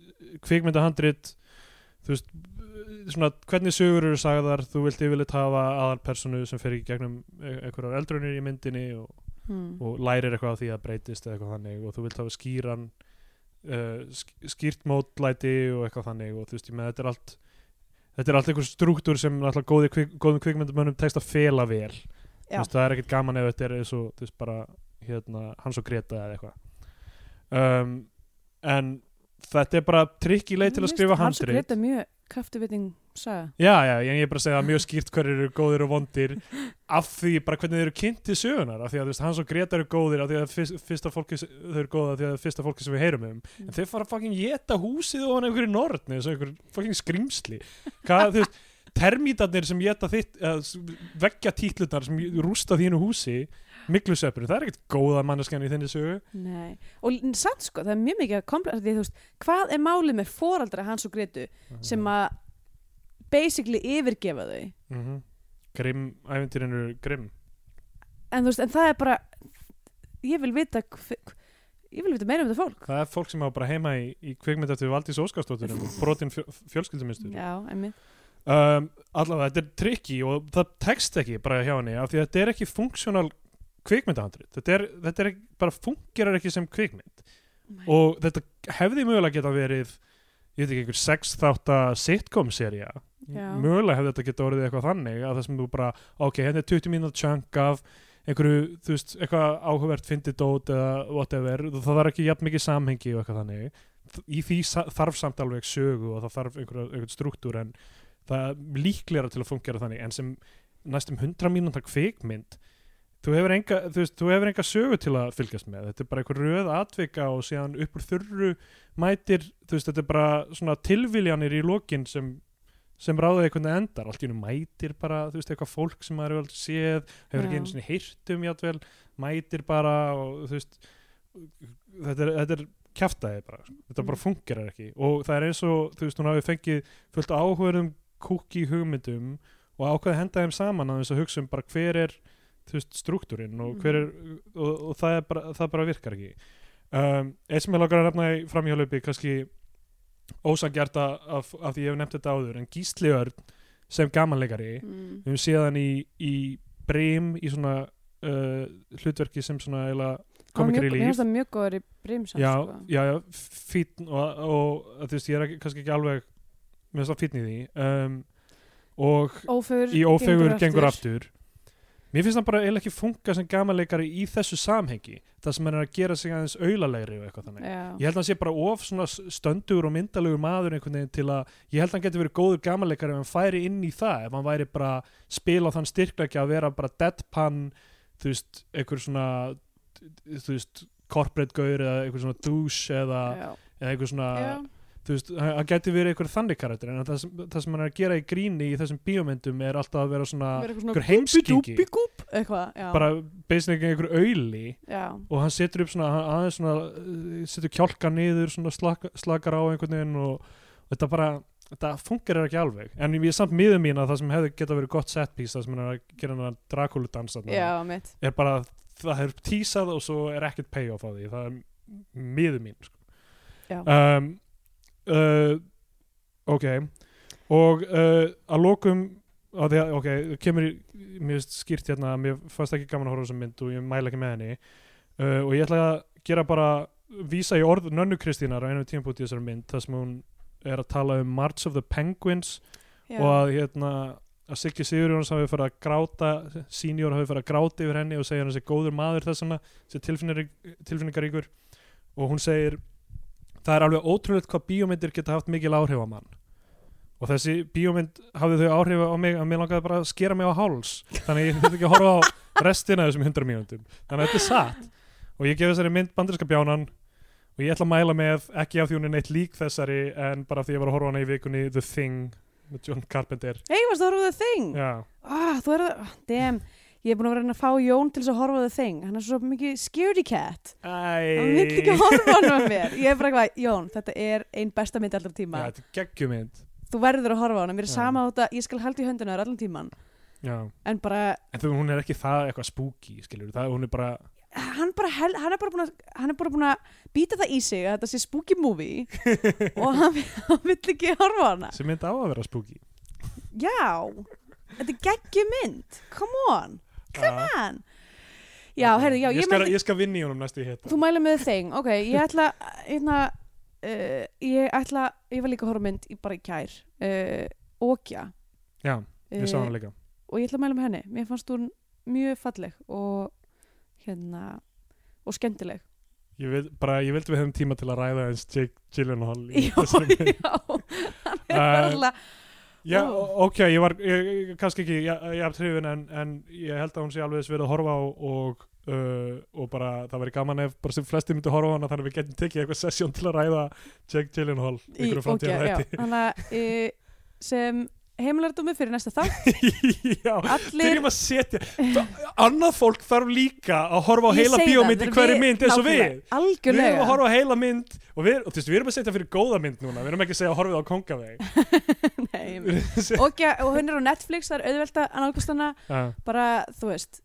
kvikmyndahandrit þú veist, svona hvernig sögur eru sagðar, þú vilt yfirleitt hafa aðalpersonu sem fer ekki gegnum e- einhverjar eldrunir í myndinni og, Mm. og lærir eitthvað á því að breytist eða eitthvað þannig og þú vilt hafa skýran uh, sk- skýrt mótlæti og eitthvað þannig og þú veist, ég með þetta er allt þetta er allt einhver struktúr sem alltaf góði, kvik, góðum kvikmyndamönnum tekst að fela vel Þú Já. veist, það er ekkert gaman ef þetta er eins og þú veist bara hérna, hans og Greta eða eitthvað um, en þetta er bara trikk í leið til að skrifa Hans og handrið Greta er mjög kraftuviting saga já, já, en ég er bara að segja það mjög skýrt hverju eru góðir og vondir af því bara hvernig þeir eru kynnt í sögunar af því að þú veist, hans og Greta eru góðir af því að fyrst, fyrsta fólki, s- þau eru góða af því að fyrsta fólki sem við heyrum um Mm. en þeir fara að fucking geta húsið og hann einhverju nortni eins og einhverju fucking skrimsli hvað, þú veist, termítarnir sem geta þitt, uh, veggja títlutnar sem rústa þínu húsi miklusöpurinn, það er ekkert góða manneskjan í þinni sögu Nei, og l- samt sko, það er mjög mikið að kompla því, þú veist, hvað er málið með foreldra hans og Gretu sem að basically yfirgefa þau mm -hmm. grimm, æfintýrin eru grimm en þú veist, en það er bara ég vil vita hv- hv- ég vil vita meira um þetta fólk það er fólk sem á bara heima í, í kvikmynd eftir Valdís Óskarsdóttir og brotin fjö, fjölskylduminstur Já, einmitt um, allavega, þetta er trikki og það tekst ekki bara hjá henni af því að þetta er ekki funksjónal kvikmyndahandrit þetta, er, þetta er ekki, bara fungerar ekki sem kvikmynd og þetta hefði mögulega geta verið ég veit ekki einhver sex þátta sitcom seria Já. mögulega hefði þetta geta orðið eitthvað þannig að það sem þú bara, ok, henni er 20 mínútur chunk af einhverju, þú veist, eitthvað áhugavert fyndið dót eða whatever það þarf ekki jafn mikið samhengi og eitthvað þannig Þ- í því sa- þarf samt alveg sögu og það þarf einhverja einhver struktúr en það er líklegra til að fungera þannig en sem næstum 100 mínúntar kvikmynd þú hefur, enga, þú, veist, þú hefur enga sögu til að fylgjast með þetta er bara einhver röð atvika og síðan upp úr þurru mætir þú veist, þetta er bara svona tilviljanir í lokin sem, sem ráða einhvern veginn endar allt í hennu mætir bara, þú veist, eitthvað fólk sem maður hefur aldrei séð, hefur ekki Já. einu sinni heyrt um játvel, mætir bara og þú veist þetta er, þetta er kjaftaði bara sko. þetta bara Mm. fungerar ekki og það er eins og þú veist, hún hafi fengið fullt áhverjum kúki hugmyndum og ákveði að henda þeim saman aðeins að hugsa um bara hver er þú veist, struktúrin og, Mm. hver er, og, og það, er bara, það bara virkar ekki um, eitt sem ég lakar að nefna í framhjálöpi kannski ósangjart af, af því ég hef nefnt þetta áður en Gísli Örn sem gamanleikari mm. við höfum séð hann í, í breym í svona uh, hlutverki sem svona eiginlega komikar í líf. Ég finnst það mjög góður í brimsam já, sko. já, já, fítn og, og þú veist, ég er ekki, kannski ekki alveg með þess að fítn í því um, og Ófegur, í ófegur gengur aftur mér finnst það bara eiginlega ekki funka sem gamanleikari í þessu samhengi það sem hann er að gera sig aðeins aulalegri og eitthvað þannig Já, ég held að hann sé bara of svona stöndur og myndalegur maður einhvern veginn til að ég held að hann geti verið góður gamanleikari ef hann færi inn í það ef hann væri bara spila á þann styrkleikja að vera bara deadpan þú veist, einhver svona þú veist, corporate gaur eða einhver svona douche eða, já, eða einhver svona já. þú veist, hann hann gæti verið einhver þannig karakter en það sem, það sem hann er að gera í gríni í þessum bíómyndum er alltaf að vera svona Verið eitthvað einhver svona heimskingi, Bidúbigúb, eitthvað, já, bara basically einhver auðli já, og hann setur upp svona, hann aðeins svona uh, setur kjálka niður, svona slaka, slakar á einhvern veginn og, og þetta bara þetta fungerir ekki alveg, en ég er samt miður mín að það sem hefði geta verið gott set piece það sem hann er að gera hann að drakuludansa já, mitt er bara, það er tísað og svo er ekkert payoff á því, það er miður mín Já. sko. um, uh, ok og uh, að lokum að því að, ok, kemur í, mér finnst skýrt hérna, að mér fannst ekki gaman að horfa á þessa mynd og ég mæla ekki með henni uh, og ég ætla að gera bara vísa í orð Nönnu Kristínar á einum tímpúti í þessari mynd þar sem hún er að tala um March of the Penguins já. og að hérna að Siggi Sigurjóns hafi farið að gráta senior hafi farið að gráta yfir henni og segja hann sé góður maður þess hana sé tilfinningaríkur og hún segir það er alveg ótrúlegt hvað bíómyndir geta haft mikil áhrif á mann og þessi bíómynd hafði þau áhrif á mig að mér langaði bara að skera mig á háls þannig að ég þurfti ekki að horfa á restina af þessum 100 mínúndum þannig að þetta er satt og ég gefi þessari mynd banderska bjánan og ég ætla að mæla með ekki af því hún er neitt lík þessari en bara af því ég var að horfa á hana í vikunni The Thing með John Carpenter Hey, varstu að horfa á The Thing? Já, Ah, þú er það, damn Ég er búin að vera að reyna að fá Jón til þess að horfa á The Thing Hann er svo mikið scaredy cat Hann vil ekki æ horfa á hann með mér Ég er bara eitthvað, Jón, þetta er ein besta mynd allra tíma Já, þetta er geggjumynd Þú verður að horfa á hana, mér er Já. sama á þetta Ég skal halda í höndina þér allan tíman Já, En bara, en þú, hún er ekki það eitthvað spooky, skiljur, það hún er bara hann, bara hel, hann er bara búin að Hann er bara búin að býta það í sig að þetta sé spooky movie Og hann, hann vil ekki horfa á hana sem mynd á að vera spooky Já, þetta er geggjum mynd Come on, Come man Já, herðu, já, ég, ég skal, mælti- ég skal vinna í honum næstu hitta Þú mæla með þeng, ok, ég ætla hérna, uh, ég ætla ég var líka að horfa á mynd í bara í kær uh, Okja Já, ég sá Eh, hana líka og ég ætla að mæla með henni, mér fannst hún mjög falleg og hérna og skemmtileg Ég, vil, bara, ég vildi við hefum tíma til að ræða eins Jake Gyllenhaal í Já, þessari mynd. já hann er Eh, alltaf Já, Ó. ok, ég var ég, ég- kannski ekki, ég, ég haf trefin en, en ég held að hún sé alveg þess verið að horfa á og, uh, og bara það væri gaman ef bara sem flesti myndi horfa á hana þannig að við getum tekið eitthvað sessjón til að ræða Jake Gyllenhaal í ykkur Okja, framtíðar já hann að uh, sem heimilardómi fyrir næsta þátt þetta Já, allir byrjum að setja annað fólk þarf líka að horfa á Ég heila segi það, bíómynd í við- hverju mynd eins og nákvæmlega, við Við erum að algjörlega horfa á heila mynd og við, og, þú veist, við erum að setja fyrir góða mynd núna, við erum ekki að segja að horfið á kongaveg. Nei, ég- Okja, og hún er á Netflix, það er auðvelt að nálgast hana Ah. bara, þú veist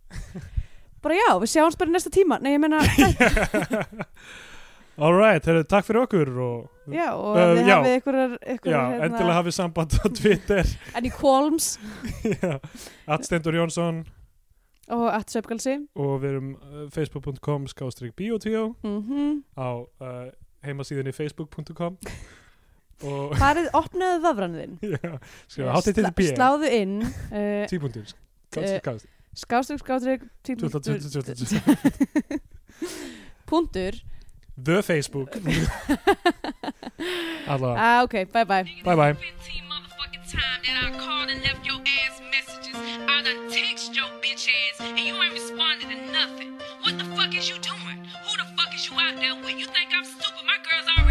bara já, við sjáumst bara í næsta tíma nei, ég meina, All right, heru, takk fyrir okkur og já, og Uh, við já. hafið einhverjar, já, einhverjar hérna, endilega hafið samband á Twitter en í Kolms Atstendur Jónsson og at Sveipgalsi og við erum uh, facebook.com skástrík biotvíó mm á uh, heimasíðinni facebook.com og farið, opnaðu vafran þinn já, skrifa háttið til Sla- sláðu inn uh, tíbundur Eh, skástrík, skástrík tí- punktur The Facebook Alla, ah, ok, bye bye bye bye 15 motherfucking time that I called and left your ass messages. I done text your bitch ass and you ain't responded to nothing. What the fuck is you doing? Who the fuck is you out there with? You think I'm stupid? My girls already.